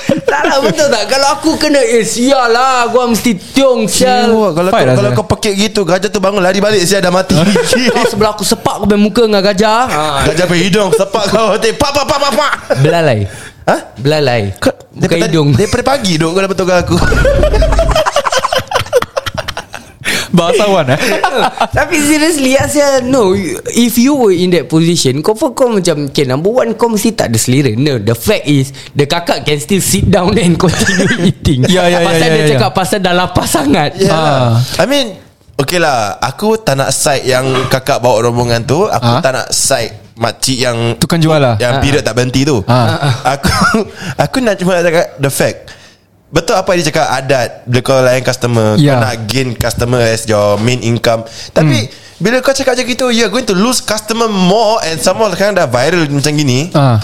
Speaker 3: Tak lah betul tak Kalau aku kena Eh sial lah Gua mesti tiung sial
Speaker 2: Wah, kalau kau,
Speaker 4: Fight lah,
Speaker 2: kalau
Speaker 4: Zia.
Speaker 2: kau pekik gitu gajah tu bangun lari balik saya dah mati.
Speaker 4: [LAUGHS]
Speaker 3: Kau sebelah aku sepak Kau punya muka dengan gajah ha.
Speaker 2: gajah pergi hidung sepak kau. [LAUGHS] Teh pa pa pa pa pa.
Speaker 3: Belalai
Speaker 2: Ha?
Speaker 3: Belalai
Speaker 2: Kau
Speaker 3: Bukan
Speaker 2: daripada,
Speaker 3: hidung
Speaker 2: daripada pagi duk kau dapat tukar
Speaker 4: [LAUGHS]
Speaker 2: aku.
Speaker 4: Bahasawan eh.
Speaker 3: [LAUGHS] Tapi seriously Asya No you- If you were in that position Kau for kau macam Okay number one Kau mesti tak ada selera No the fact is The kakak can still sit down And continue [LAUGHS] eating
Speaker 4: Ya, ya, ya,
Speaker 3: Pasal
Speaker 4: ya,
Speaker 3: dia
Speaker 4: ya.
Speaker 3: cakap Pasal dah lapar sangat
Speaker 2: Yeah.
Speaker 4: Ah.
Speaker 2: Ya. I mean Okay lah Aku tak nak side Yang kakak bawa rombongan tu Aku
Speaker 4: Ah.
Speaker 2: tak nak side Makcik yang
Speaker 4: Tukang jual lah.
Speaker 2: Yang period tak berhenti tu
Speaker 4: Ah.
Speaker 2: Aku [LAUGHS] Aku nak cuma nak cakap The fact Betul apa yang dia cakap Adat Bila kau layan customer Kau
Speaker 4: Ya. Hmm.
Speaker 2: nak gain customer As your main income Tapi Bila kau cakap macam gitu You're going to lose customer more And someone sekarang dah viral Macam gini
Speaker 4: Ah.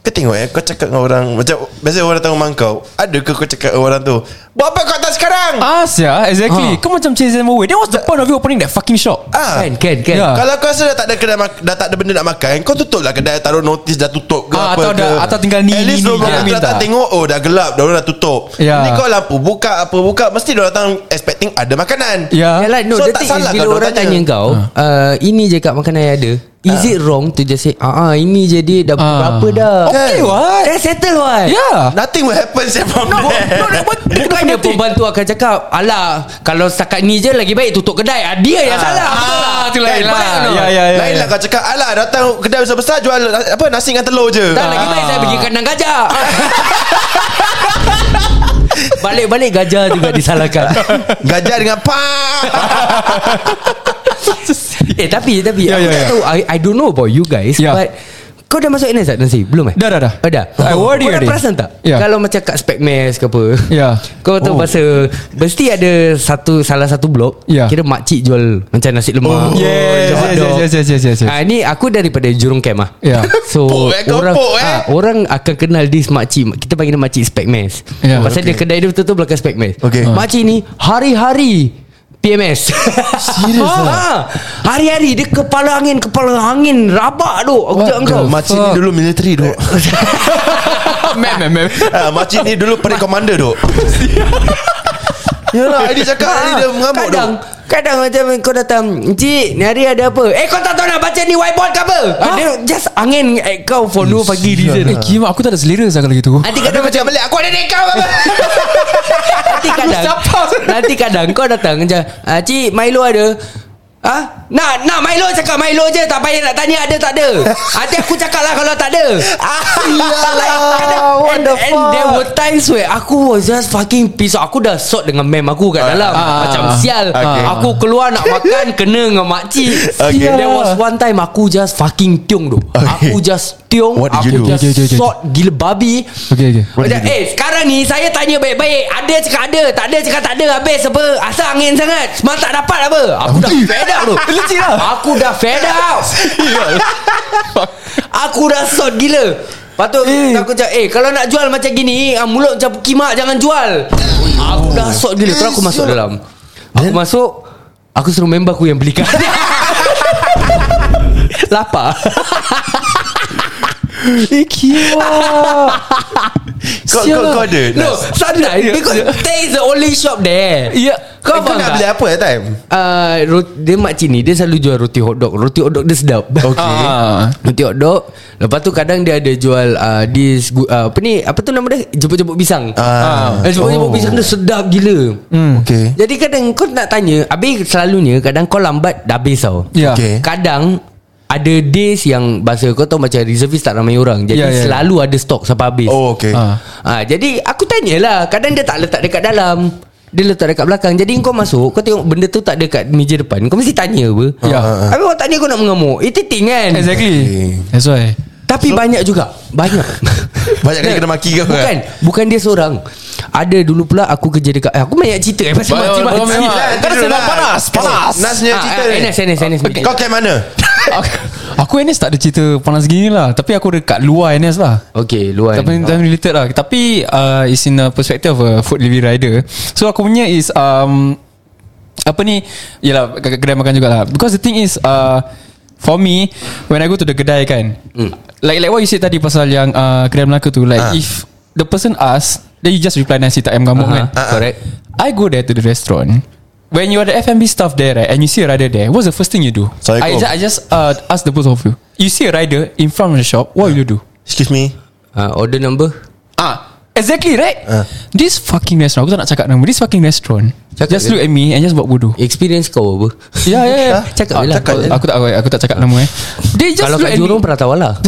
Speaker 2: Kau tengok eh Kau cakap dengan orang Macam Biasanya orang tahu rumah kau Ada ke kau cakap dengan orang tu Buat apa kau tak sekarang
Speaker 4: Ah, yeah,
Speaker 3: Ah.
Speaker 4: exactly. Kau macam chase them away. Then what's the point of you opening that fucking shop?
Speaker 2: ah.
Speaker 3: Kan kan kan
Speaker 4: Ya.
Speaker 3: yeah.
Speaker 2: Kalau kau rasa dah tak ada kedai mak- dah tak ada benda nak makan, kau tutup lah kedai taruh notis dah tutup ke
Speaker 4: Ah,
Speaker 2: apa
Speaker 4: atau
Speaker 2: ke.
Speaker 4: dah- atau tinggal ni,
Speaker 2: At least
Speaker 4: ni,
Speaker 2: dorang
Speaker 4: ni,
Speaker 2: datang
Speaker 4: minta.
Speaker 2: datang tengok oh dah gelap, dah orang dah tutup.
Speaker 4: Ya.
Speaker 2: Ni kau lampu buka apa buka mesti dia datang expecting ada makanan.
Speaker 4: Yeah.
Speaker 3: Yalah Ya lah, no
Speaker 2: So,
Speaker 3: The
Speaker 2: tak
Speaker 3: thing is
Speaker 2: salah
Speaker 3: Bila
Speaker 2: kalau
Speaker 3: orang tanya
Speaker 2: tanya.
Speaker 3: kau
Speaker 4: Ha.
Speaker 3: uh, Ini je kat makanan yang ada Is it wrong to just say Ah ah ini je dia Dah berapa dah
Speaker 4: Ha. Okay, what? Ya.
Speaker 3: Dah settle what
Speaker 4: Yeah.
Speaker 2: Nothing will happen save from no, [LAUGHS] there.
Speaker 4: that what-
Speaker 3: Bukannya
Speaker 4: Bukan
Speaker 3: pembantu akan cakap Alah Kalau setakat ni je Lagi baik tutup kedai Ah, Dia yang salah Betul lah
Speaker 4: tu lain
Speaker 3: Kan,
Speaker 4: lah.
Speaker 3: betul tak?
Speaker 4: Ya, ya, ya.
Speaker 2: Lain lah kau cakap Alah datang kedai besar-besar Jual na- apa nasi dengan telur je
Speaker 3: Tak lagi
Speaker 4: Ah.
Speaker 3: baik saya pergi kandang gajah [LAUGHS] Balik-balik gajah juga
Speaker 4: [LAUGHS]
Speaker 3: disalahkan
Speaker 2: Gajah dengan pak
Speaker 3: Eh tapi tapi yeah,
Speaker 4: Ya,
Speaker 3: aku
Speaker 4: ya,
Speaker 3: yeah, tak
Speaker 4: ya.
Speaker 3: tahu I, I don't know about you guys
Speaker 4: Ya.
Speaker 3: yeah. But Kau dah masuk NS tak Nancy? Belum eh?
Speaker 4: Dah, dah, dah.
Speaker 3: oh, dah.
Speaker 4: I worry
Speaker 3: Kau dah
Speaker 4: already.
Speaker 3: perasan tak?
Speaker 4: Ya.
Speaker 3: Kalau macam kat Specmas ke apa
Speaker 4: Ya.
Speaker 3: Kau tahu oh. pasal Mesti ada satu Salah satu blok
Speaker 4: Ya.
Speaker 3: Kira makcik jual Macam nasi lemak oh,
Speaker 4: Yes, yes, yes, yes, yes, yes, yes, yes.
Speaker 3: Ah, ni aku daripada Jurong Camp ah.
Speaker 4: Ya.
Speaker 3: [LAUGHS] So
Speaker 2: Pok, eh, kau
Speaker 3: orang
Speaker 2: pok, eh.
Speaker 3: ah, orang akan kenal this makcik. Kita panggil dia makcik Specmas.
Speaker 4: Ya,
Speaker 3: Pasal dia kedai dia betul-betul belakang Specmas.
Speaker 2: Okay.
Speaker 3: Ah. Makcik ni hari-hari PMS Serius [LAUGHS] ha,
Speaker 4: lah.
Speaker 3: Hari-hari Dia kepala angin Kepala angin Rabak tu Aku cakap kau
Speaker 2: Makcik ni dulu military duk
Speaker 4: Mem, mem,
Speaker 3: [LAUGHS]
Speaker 4: mem.
Speaker 2: Ah, Makcik ni dulu perit commander duk Yalah Adi cakap Adi lah, dia mengamuk duk
Speaker 3: Kadang Ha, Kadang macam kau datang Cik ni hari ada apa Eh kau tak tahu nak baca ni whiteboard ke apa ha? Dia just angin at kau For no pagi reason
Speaker 4: Eh, Kim, aku tak ada selera sah kalau gitu.
Speaker 3: Nanti kadang macam balik Aku ada dek kau Nanti kadang Nanti kadang kau datang macam ah, Cik Milo ada Ha? Nak, nak Milo cakap Milo je Tak payah nak tanya ada tak ada Nanti aku cakap lah kalau tak ada ah,
Speaker 2: what
Speaker 3: and,
Speaker 2: the
Speaker 3: and there were times where Aku was just fucking pissed off. Aku dah sort dengan mem aku kat dalam
Speaker 4: ah,
Speaker 3: Macam
Speaker 4: ah.
Speaker 3: sial
Speaker 2: Okay.
Speaker 3: Aku keluar nak makan Kena dengan makcik
Speaker 2: Okay.
Speaker 3: There was one time Aku just fucking tiung tu
Speaker 2: Okay.
Speaker 3: Aku just tiung
Speaker 2: What did you
Speaker 3: Aku
Speaker 2: do?
Speaker 3: just
Speaker 4: Okay, okay, okay.
Speaker 3: sort gila babi
Speaker 4: Okay, okay.
Speaker 2: What
Speaker 3: macam,
Speaker 2: did you
Speaker 3: eh sekarang ni saya tanya baik-baik Ada cakap ada Tak ada cakap tak ada Habis apa Asal angin sangat Semalam tak dapat apa Aku
Speaker 2: [LAUGHS]
Speaker 3: dah fed up tu
Speaker 4: [LAUGHS] Legit lah.
Speaker 3: Aku dah fed up Aku dah sot gila Lepas tu eh. aku cakap Eh kalau nak jual macam gini ah, Mulut macam kimak jangan jual Aku dah sot gila Terus
Speaker 2: Eh,
Speaker 3: aku masuk dalam Aku masuk Aku suruh member aku yang
Speaker 2: [LAUGHS]
Speaker 3: belikan Lapar
Speaker 4: Eh, Kim.
Speaker 2: Kau, kau, kau ada
Speaker 3: No Sunrise Because that is the only shop there
Speaker 4: Ya.
Speaker 3: Kau
Speaker 2: Ya. Eh, Kau
Speaker 3: faham
Speaker 2: nak
Speaker 3: tak?
Speaker 2: beli apa that time
Speaker 3: Uh, roti, dia makcik ni Dia selalu jual roti hotdog Roti hotdog dia
Speaker 4: [LAUGHS]
Speaker 3: sedap
Speaker 2: Okay.
Speaker 4: Ah.
Speaker 3: Roti hotdog Lepas tu kadang dia ada jual uh, This gu- uh, Apa ni Apa tu nama dia Jeput-jeput pisang
Speaker 2: Ah.
Speaker 3: Eh,
Speaker 4: Oh.
Speaker 3: Jeput-jeput pisang dia sedap gila
Speaker 4: Hmm.
Speaker 2: Okay
Speaker 3: Jadi kadang kau nak tanya Habis selalunya Kadang kau lambat Dah habis tau
Speaker 4: Ya.
Speaker 2: Okay.
Speaker 3: Kadang Ada days yang Bahasa kau tahu macam Reservist tak ramai orang Jadi
Speaker 4: Ya, ya, ya.
Speaker 3: selalu ada stok Sampai habis
Speaker 2: Oh okay
Speaker 4: Ah.
Speaker 3: Ha, jadi aku tanyalah Kadang dia tak letak dekat dalam Dia letak dekat belakang Jadi kau masuk Kau tengok benda tu tak dekat meja depan Kau mesti tanya apa Ha.
Speaker 4: Ya.
Speaker 3: Habis kau tanya kau nak mengamuk Ititing kan
Speaker 4: Exactly. That's why.
Speaker 3: Tapi so, banyak juga Banyak
Speaker 2: [LAUGHS] Banyak kali kena maki kau, kan?
Speaker 3: Bukan Bukan dia seorang Ada dulu pula Aku kerja dekat eh, Aku banyak cerita eh, Pasal
Speaker 4: Banyak-
Speaker 3: makcik-makcik
Speaker 4: banyak-
Speaker 3: lah.
Speaker 4: memang.
Speaker 2: tidur
Speaker 4: Kau sedang Ah, panas, panas. eh,
Speaker 2: Nas punya
Speaker 3: Ah, ah,
Speaker 2: cerita ni.
Speaker 3: Enes, Enes, Enes punya
Speaker 2: Kau camp mana
Speaker 4: Aku- Aku NS tak ada cerita panas gini lah Tapi aku dekat luar NS lah
Speaker 3: [LAUGHS] Okay luar
Speaker 4: Tapi time related lah Tapi uh, It's in a perspective of a food delivery rider So aku punya is um, Apa ni Yelah ke- kedai makan jugalah Because the thing is uh, For me When I go to the kedai kan mm. Like like what you said tadi Pasal yang uh, Kedai Melaka tu Like
Speaker 2: Ah.
Speaker 4: if The person ask Then you just reply Nasi tak ayam gamuk
Speaker 3: uh-huh.
Speaker 4: kan
Speaker 3: Correct
Speaker 4: I go there to the restaurant. When you are the F&B staff there, right, and you see a rider there, what's the first thing you do?
Speaker 2: Assalamualaikum.
Speaker 4: I just, I just uh, ask the both of you. You see a rider in front of the shop, what will you do?
Speaker 2: Excuse me
Speaker 3: Ah, Order number
Speaker 4: Ah, exactly right.
Speaker 2: Ah.
Speaker 4: This fucking restaurant, aku tak nak cakap nama. This fucking restaurant,
Speaker 3: Cakap
Speaker 4: just
Speaker 3: je.
Speaker 4: look at me and just buat bodoh. Ya,
Speaker 3: Experience kau apa
Speaker 4: yeah, yeah,
Speaker 2: Ah,
Speaker 4: yeah.
Speaker 3: Cakap je lah
Speaker 2: cakap
Speaker 3: kau-
Speaker 2: je.
Speaker 4: Aku tak aku, aku tak cakap nama eh. They just
Speaker 3: Kalau
Speaker 4: look
Speaker 3: kat
Speaker 4: at me.
Speaker 3: Jurong
Speaker 4: [LAUGHS]
Speaker 3: Pratawala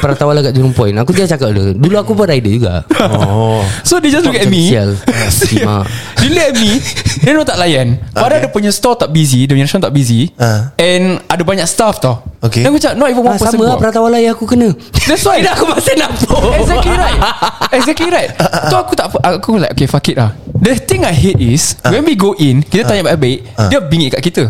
Speaker 3: Pratawala kat Jurong Point Aku dia cakap dulu Dulu aku pun rider juga
Speaker 2: Oh
Speaker 4: So they just [LAUGHS] look at
Speaker 3: Macam
Speaker 4: me [LAUGHS]
Speaker 3: sial. Ah, Kimak.
Speaker 4: Dia look at me Dia memang tak layan Padahal
Speaker 2: Okay.
Speaker 4: dia punya store tak busy Dia punya restaurant tak busy
Speaker 2: Ah.
Speaker 4: And ada banyak staff tau
Speaker 2: Okay.
Speaker 4: Dan aku cakap Not even one
Speaker 3: ah,
Speaker 4: person
Speaker 3: Sama lah
Speaker 4: go out.
Speaker 3: Pratawala yang aku kena
Speaker 4: That's why
Speaker 3: Aku masih nampak Uh,
Speaker 4: Exactly right
Speaker 3: [LAUGHS]
Speaker 4: Exactly right So aku tak Aku like okay
Speaker 3: Uh.
Speaker 4: fuck it lah The thing I hate is When we go in Kita tanya baik-baik Dia bingit kat kita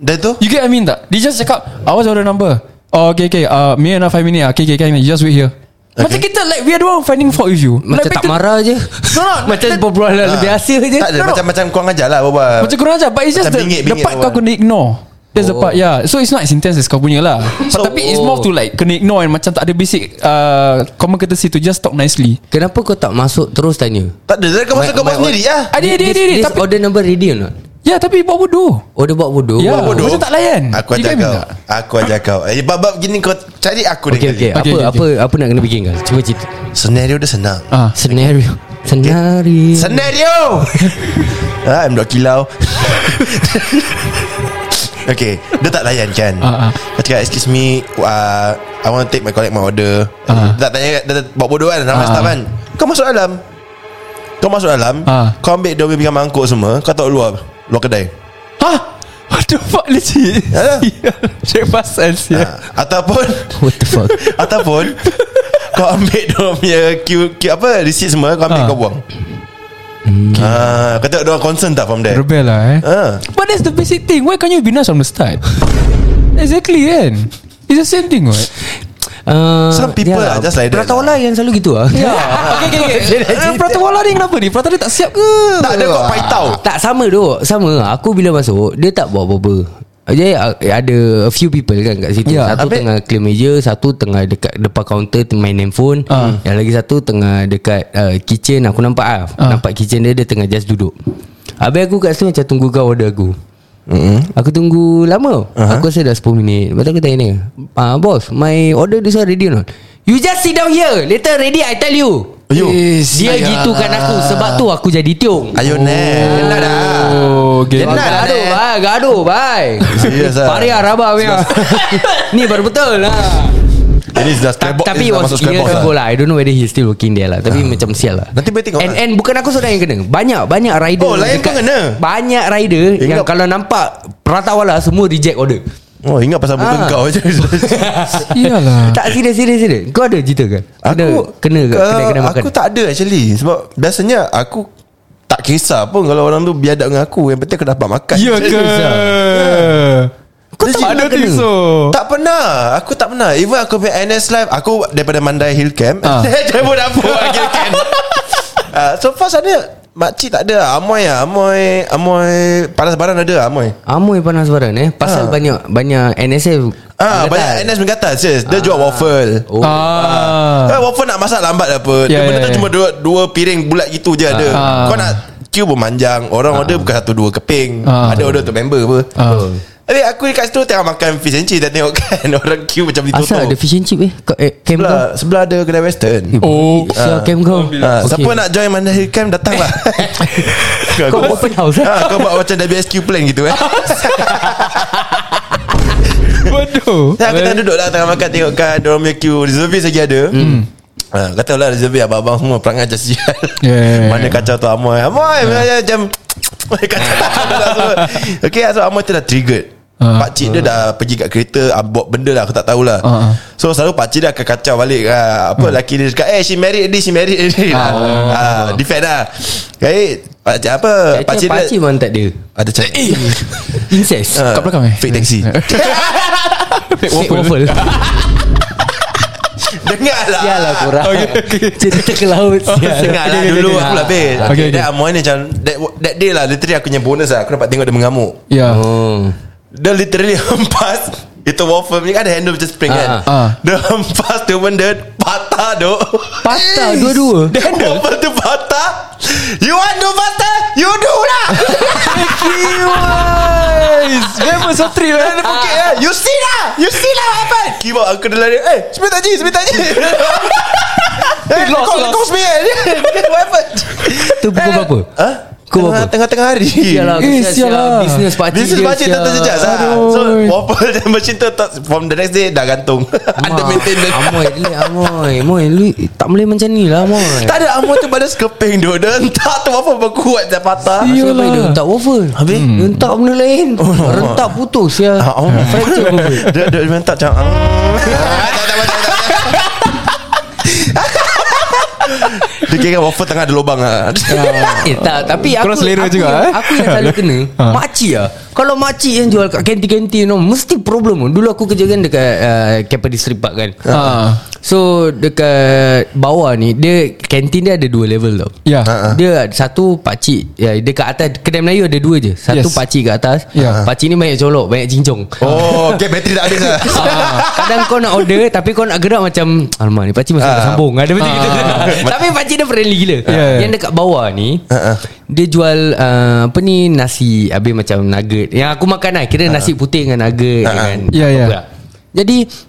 Speaker 2: Dah tu
Speaker 4: You get what I mean tak? Dia just cakap, I was order number. Oh, okay, okay. Uh, me and I five minutes. Okay, okay, okay. You just wait here. Okay. Macam kita like we are the one finding fault with you.
Speaker 3: Macam
Speaker 4: like, Ah.
Speaker 3: tak
Speaker 4: back to-
Speaker 3: marah je
Speaker 4: No,
Speaker 2: [LAUGHS]
Speaker 4: no.
Speaker 3: Macam berbualan ha. biasa je
Speaker 2: Tak ada
Speaker 4: No, no.
Speaker 2: macam-macam kurang ajar lah berbual
Speaker 4: Macam kurang ajar But it's just
Speaker 2: Macam
Speaker 4: the,
Speaker 2: bingit-
Speaker 4: the
Speaker 2: bingit
Speaker 4: part
Speaker 2: tu
Speaker 4: kau
Speaker 2: kan.
Speaker 4: kena ignore That's the part yeah. So it's not as intense as kau punya lah
Speaker 2: So-
Speaker 4: so, Tapi it's more to like Kena ignore and macam tak ada basic uh, Common courtesy to just talk nicely
Speaker 3: Kenapa kau tak masuk terus tanya
Speaker 2: Tak ada Dah kau
Speaker 3: My-
Speaker 2: masuk kau
Speaker 3: my
Speaker 2: buat sendiri lah
Speaker 4: Ada ada
Speaker 3: This,
Speaker 4: ada ada,
Speaker 3: this
Speaker 4: Tapi
Speaker 3: order number ready or not
Speaker 4: Yeah tapi buat bodoh
Speaker 3: Order buat bodoh
Speaker 4: Yeah.
Speaker 2: Bodoh.
Speaker 4: Macam tak layan. kan
Speaker 2: Aku
Speaker 4: You
Speaker 2: ajar
Speaker 4: get me
Speaker 2: kau
Speaker 4: tak?
Speaker 2: Aku ajar kau Eh, Bab-bab gini kau Cari aku
Speaker 3: Okay, okay.
Speaker 2: dia
Speaker 3: Apa,
Speaker 4: Okay, okay,
Speaker 3: apa, apa nak kena bikin kau? Cuba cerita.
Speaker 2: Senario dia senang
Speaker 4: Ah,
Speaker 3: Senario. Senario.
Speaker 2: Senario [LAUGHS] ah, I'm not kilau [LAUGHS] Okay Dia tak layan kan
Speaker 4: Ah, ah.
Speaker 2: Dia cakap excuse me uh, I want to take my collect my order
Speaker 4: Ah.
Speaker 2: Dia tak tanya Dia tak- buat bodoh kan Ramai
Speaker 4: Ah.
Speaker 2: staff kan Kau masuk dalam Kau masuk dalam
Speaker 4: Ah.
Speaker 2: Kau ambil dia punya mangkuk semua Kau tahu luar Luar kedai
Speaker 4: Hah? What the fuck legit
Speaker 2: Yalah.
Speaker 4: [LAUGHS] Share pasal
Speaker 2: yeah.
Speaker 4: sia
Speaker 2: Ah.
Speaker 4: [LAUGHS]
Speaker 2: Ataupun [LAUGHS]
Speaker 3: What the fuck?
Speaker 2: Ataupun Kau ambil dia punya queue, queue Apa Receipt semua Kau ambil
Speaker 4: Ah. Hmm,
Speaker 2: kau buang Ah, Kau tengok dia orang concern tak from there
Speaker 4: Rebel lah eh
Speaker 2: Ah.
Speaker 4: But that's the basic thing Why can't you be nice from the start? exactly kan It's the same thing what
Speaker 3: Uh,
Speaker 2: Some people are just like that
Speaker 3: Prataola yang selalu gitu ah. [LAUGHS]
Speaker 4: Yeah. okay, okay, okay. Eh, Prata Wala ni kenapa ni? Prata dia tak siap ke?
Speaker 2: Tak ada kau paitau
Speaker 3: Tak sama tu Sama Aku bila masuk Dia tak buat apa-apa Dia a- ada A few people kan kat situ
Speaker 4: Ya,
Speaker 3: yeah, Satu
Speaker 2: habis-
Speaker 3: tengah clear meja Satu tengah dekat Depan counter Main handphone
Speaker 4: Ah.
Speaker 3: Yang lagi satu Tengah dekat uh, Kitchen Aku nampak ah,
Speaker 4: Ah.
Speaker 3: Nampak kitchen dia Dia tengah just duduk Habis aku kat situ Macam tunggu kau order aku Mm-hmm. Aku tunggu lama uh-huh. Aku rasa dah 10 minit Lepas tu aku tanya ni ah, Boss My order this one ready or not You just sit down here Later ready I tell you
Speaker 2: Ayo.
Speaker 3: Dia gitu kan aku Sebab tu aku jadi tiung
Speaker 2: Ayo Nel Kenal dah
Speaker 4: Oh, okay.
Speaker 2: Kenal dah
Speaker 3: Gaduh
Speaker 2: Nel
Speaker 3: bye Gaduh bye
Speaker 2: Serius lah.
Speaker 3: Pari Arabah punya [LAUGHS] Ni baru betul lah
Speaker 2: Ini sudah
Speaker 3: Ta-
Speaker 2: skybox
Speaker 3: Tapi it was years ago lah I don't know whether he's still working there lah Tapi macam sial lah
Speaker 2: Ah. Nanti boleh tengok
Speaker 3: And,
Speaker 2: lah.
Speaker 3: and bukan aku seorang yang kena Banyak Banyak rider
Speaker 2: Oh, lain pun kena.
Speaker 3: Banyak rider
Speaker 2: Ingat-
Speaker 3: Yang kalau nampak Pratawala semua reject order
Speaker 2: Oh ingat pasal muka
Speaker 3: Ah.
Speaker 2: kau [LAUGHS] je Ah.
Speaker 4: Iyalah.
Speaker 3: Tak serius serius serius Kau ada cerita ke? Kena, Kena ke? Kena, kena
Speaker 2: uh,
Speaker 3: makan
Speaker 2: Aku tak ada actually Sebab biasanya aku tak kisah pun kalau orang tu biadab dengan aku Yang penting aku dapat makan lah.
Speaker 4: Ya ke? Ya.
Speaker 3: Kau tak
Speaker 4: I
Speaker 3: pernah
Speaker 4: don't think
Speaker 3: kena?
Speaker 4: so.
Speaker 2: Tak pernah Aku tak pernah Even aku punya NS life Aku daripada Mandai Hill Camp [LAUGHS]
Speaker 4: Ah.
Speaker 2: Jemput dapur Hill Camp Ah, So far sana Makcik tak ada Amoy lah Amoy Amoy Panas barang ada lah, Amoy
Speaker 3: Amoy panas baran eh Pasal
Speaker 2: Ah.
Speaker 3: banyak Banyak NSF
Speaker 2: Ah,
Speaker 3: menggatal.
Speaker 2: banyak NS menggatal Serius Dia jual waffle
Speaker 3: Oh.
Speaker 4: Ah.
Speaker 2: Kan waffle nak masak lambat apa Dia
Speaker 4: Ya,
Speaker 2: benda
Speaker 4: ya,
Speaker 2: tu
Speaker 4: ya.
Speaker 2: cuma dua, dua piring bulat gitu je ada
Speaker 4: Ah.
Speaker 2: Kau nak queue pun panjang Orang
Speaker 3: Ah.
Speaker 2: order bukan satu dua keping
Speaker 4: Ah.
Speaker 2: Ada order tu member apa
Speaker 4: Ah.
Speaker 2: Tapi aku dekat situ tengah makan fish and chips Dan tengok kan [LAUGHS] orang queue macam ditutup
Speaker 3: Asal ada fish and Eh, chip eh? Kau, eh camp
Speaker 2: sebelah,
Speaker 3: kau?
Speaker 2: sebelah ada kedai western
Speaker 4: Oh.
Speaker 3: Sial camp kau
Speaker 2: Ha, okay. Siapa nak join Mandai Hill Camp Datanglah
Speaker 3: [LAUGHS] Kau open house, eh?
Speaker 2: ha, Kau buat macam WSQ plan gitu eh
Speaker 3: [LAUGHS]
Speaker 4: Bodoh.
Speaker 2: Saya aku tengah duduk lah Tengah makan tengok kan Diorang punya queue Reservis lagi ada hmm. Ha, kata lah reservis abang-abang semua Perangai macam sial
Speaker 4: [LAUGHS] Yeah.
Speaker 2: Mana kacau tu Amoy Amoy yeah. macam [LAUGHS] Kacau lah semua Okay lah, so Amoy tu dah triggered
Speaker 4: Ah.
Speaker 2: Pakcik dia dah pergi kat kereta ah, Buat benda lah Aku tak tahulah
Speaker 4: Ah, Hmm. ah.
Speaker 2: So selalu pakcik dia akan kacau balik ah, Apa lelaki dia cakap Eh she married this She married this ah, ah, Defend lah Okay Pakcik apa
Speaker 3: Pakcik, Eh, pakcik
Speaker 2: dia
Speaker 3: memang tak ada
Speaker 2: Ada cakap Eh
Speaker 3: Incest
Speaker 2: ah,
Speaker 4: kat belakang eh?
Speaker 2: Fake taxi
Speaker 4: [LAUGHS] Fake
Speaker 3: Fake waffle
Speaker 2: Dengar lah
Speaker 3: Sial lah korang
Speaker 4: Okay, okay.
Speaker 3: [LAUGHS] Cerita ke laut Sial
Speaker 2: Dengar lah
Speaker 4: Okay, okay,
Speaker 2: dulu
Speaker 4: okay.
Speaker 2: aku lah babe
Speaker 4: Okay,
Speaker 2: Okay,
Speaker 4: okay.
Speaker 2: That amoy ni macam that, that day lah Literally aku punya bonus lah Aku dapat tengok dia mengamuk
Speaker 4: [LAUGHS] Ya.
Speaker 3: Oh
Speaker 2: Dia literally [LAUGHS] hempas Itu waffle ni kan ada handle macam spring
Speaker 3: Ah,
Speaker 2: kan
Speaker 4: ah. Ah.
Speaker 2: Dia hempas tu benda Patah tu [LAUGHS]
Speaker 3: Patah dua-dua
Speaker 2: The handle Waffle tu patah You want do patah You do lah
Speaker 4: Guys, memang sotri lah.
Speaker 2: Dia bukit lah You see lah You see lah apa Keyboard aku dah lari Eh sebut tak je Sebut tak je Eh [LAUGHS]
Speaker 4: Lost,
Speaker 2: kau
Speaker 4: lost.
Speaker 2: kau sembilan What happened
Speaker 3: Tu pukul
Speaker 2: Eh.
Speaker 3: berapa?
Speaker 2: Huh?
Speaker 3: Kau
Speaker 2: Tengah-
Speaker 3: apa?
Speaker 2: Tengah-tengah hari
Speaker 3: Sial lah
Speaker 4: Eh,
Speaker 3: kesian,
Speaker 4: sial
Speaker 3: sial.
Speaker 4: lah.
Speaker 3: Business pakcik
Speaker 2: Business
Speaker 3: dia,
Speaker 2: pakcik tu
Speaker 3: sial.
Speaker 2: terjejas lah
Speaker 4: Aduh.
Speaker 2: So [LAUGHS] waffle dan machine tu tak- From the next day Dah
Speaker 4: [LAUGHS]
Speaker 2: gantung Under maintenance
Speaker 3: Amoy ni Amoy Amoy lu tak boleh macam ni lah Amoy
Speaker 2: Tak ada Amor tu balas keping tu Dia hentak tu waffle berkuat Dah patah
Speaker 4: Si-
Speaker 3: Siapa
Speaker 4: Iyalah.
Speaker 3: dia hentak waffle Habis Dia hentak benda lain Rentak putus ya
Speaker 2: Oh, Ah, Oh
Speaker 4: Hmm.
Speaker 3: Fracture waffle
Speaker 2: [LAUGHS] Dia dia dia hentak macam "Hmm."
Speaker 4: [LAUGHS]
Speaker 2: ah. Tak tak tak, tak tak Dia kira waffle tengah ada lubang lah
Speaker 3: Eh tak Tapi aku
Speaker 4: Ah. Korang selera
Speaker 3: aku
Speaker 4: juga,
Speaker 3: yang,
Speaker 4: eh? Ah.
Speaker 3: Aku yang
Speaker 4: [LAUGHS]
Speaker 3: selalu kena Makcik lah Kalau makcik yang jual Kat kantin-kantin no, Mesti problem Dulu aku kerja kan Dekat uh, Capri Street Park kan
Speaker 4: Ha.
Speaker 3: So dekat bawah ni Dia Kantin dia ada dua level tau
Speaker 4: Ya.
Speaker 3: Dia ada satu pakcik ya, Dia kat atas Kedai Melayu ada dua je Satu
Speaker 4: Yes.
Speaker 3: pakcik kat atas
Speaker 4: Ya.
Speaker 3: Pakcik ni banyak colok Banyak cincong
Speaker 2: Oh Okay bateri tak habis lah
Speaker 3: Ah, Kadang kau nak order Tapi kau nak gerak macam Alamak ni pakcik masih nak
Speaker 2: Ah.
Speaker 3: sambung kan?" Ada macam gitu [LAUGHS] Tapi pakcik dia friendly gila
Speaker 4: Ya, ya.
Speaker 3: Yang dekat bawah ni
Speaker 2: Ah,
Speaker 3: Dia jual uh, Apa ni Nasi Habis macam nugget Yang aku makan lah
Speaker 2: Ah.
Speaker 3: Kira nasi putih dengan nugget dengan
Speaker 4: Ya, ya.
Speaker 3: apa lah. Jadi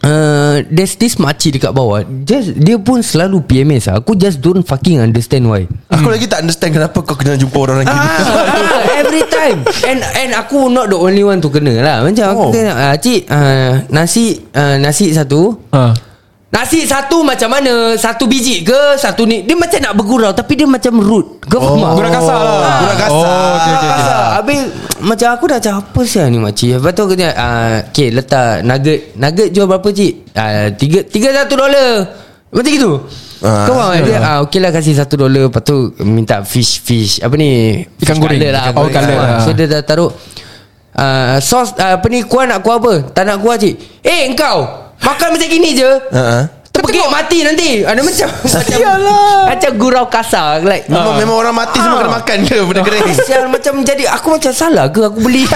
Speaker 3: Uh, there's this makcik dekat bawah just, Dia pun selalu PMS lah. Aku just don't fucking understand why
Speaker 2: Aku lagi tak understand Kenapa kau kena jumpa orang lagi
Speaker 3: Ah, [LAUGHS] Every time And and aku not the only one to kena lah Macam aku
Speaker 2: Oh.
Speaker 3: kena ah, Cik ah, Nasi ah, Nasi satu
Speaker 4: Ha.
Speaker 3: Nasi satu macam mana Satu biji ke Satu ni Dia macam nak bergurau Tapi dia macam rude Kau faham
Speaker 2: Oh.
Speaker 3: tak?
Speaker 4: Gurau kasar lah.
Speaker 3: Ah.
Speaker 2: Gurau kasar.
Speaker 4: Oh, okay, okay, okay.
Speaker 3: Kasar. Habis Macam aku dah macam Apa sih ni makcik Lepas tu kena uh, Okay letak nugget Nugget jual berapa cik uh, Tiga Tiga satu dolar Macam gitu
Speaker 2: Ah.
Speaker 3: Kau faham tak? dia, ah, Okay lah kasih satu dolar Lepas tu Minta fish Fish Apa ni Fish
Speaker 4: Ikan goreng.
Speaker 3: colour lah,
Speaker 4: Ikan goreng.
Speaker 3: apa
Speaker 4: Oh, colour.
Speaker 3: semua. So dia dah taruh uh, Sos uh, Apa ni kuah nak kuah apa Tak nak kuah cik Eh engkau Makan macam gini je
Speaker 4: Ah.
Speaker 2: Ha-ha.
Speaker 3: Terpekik mati nanti Ada macam Macam, macam gurau kasar Like
Speaker 2: Memang, memang orang mati semua
Speaker 4: Ah.
Speaker 2: kena makan ke Benda
Speaker 4: [LAUGHS]
Speaker 2: kering
Speaker 3: Sial macam jadi Aku macam salah ke Aku
Speaker 2: [LAUGHS]
Speaker 3: beli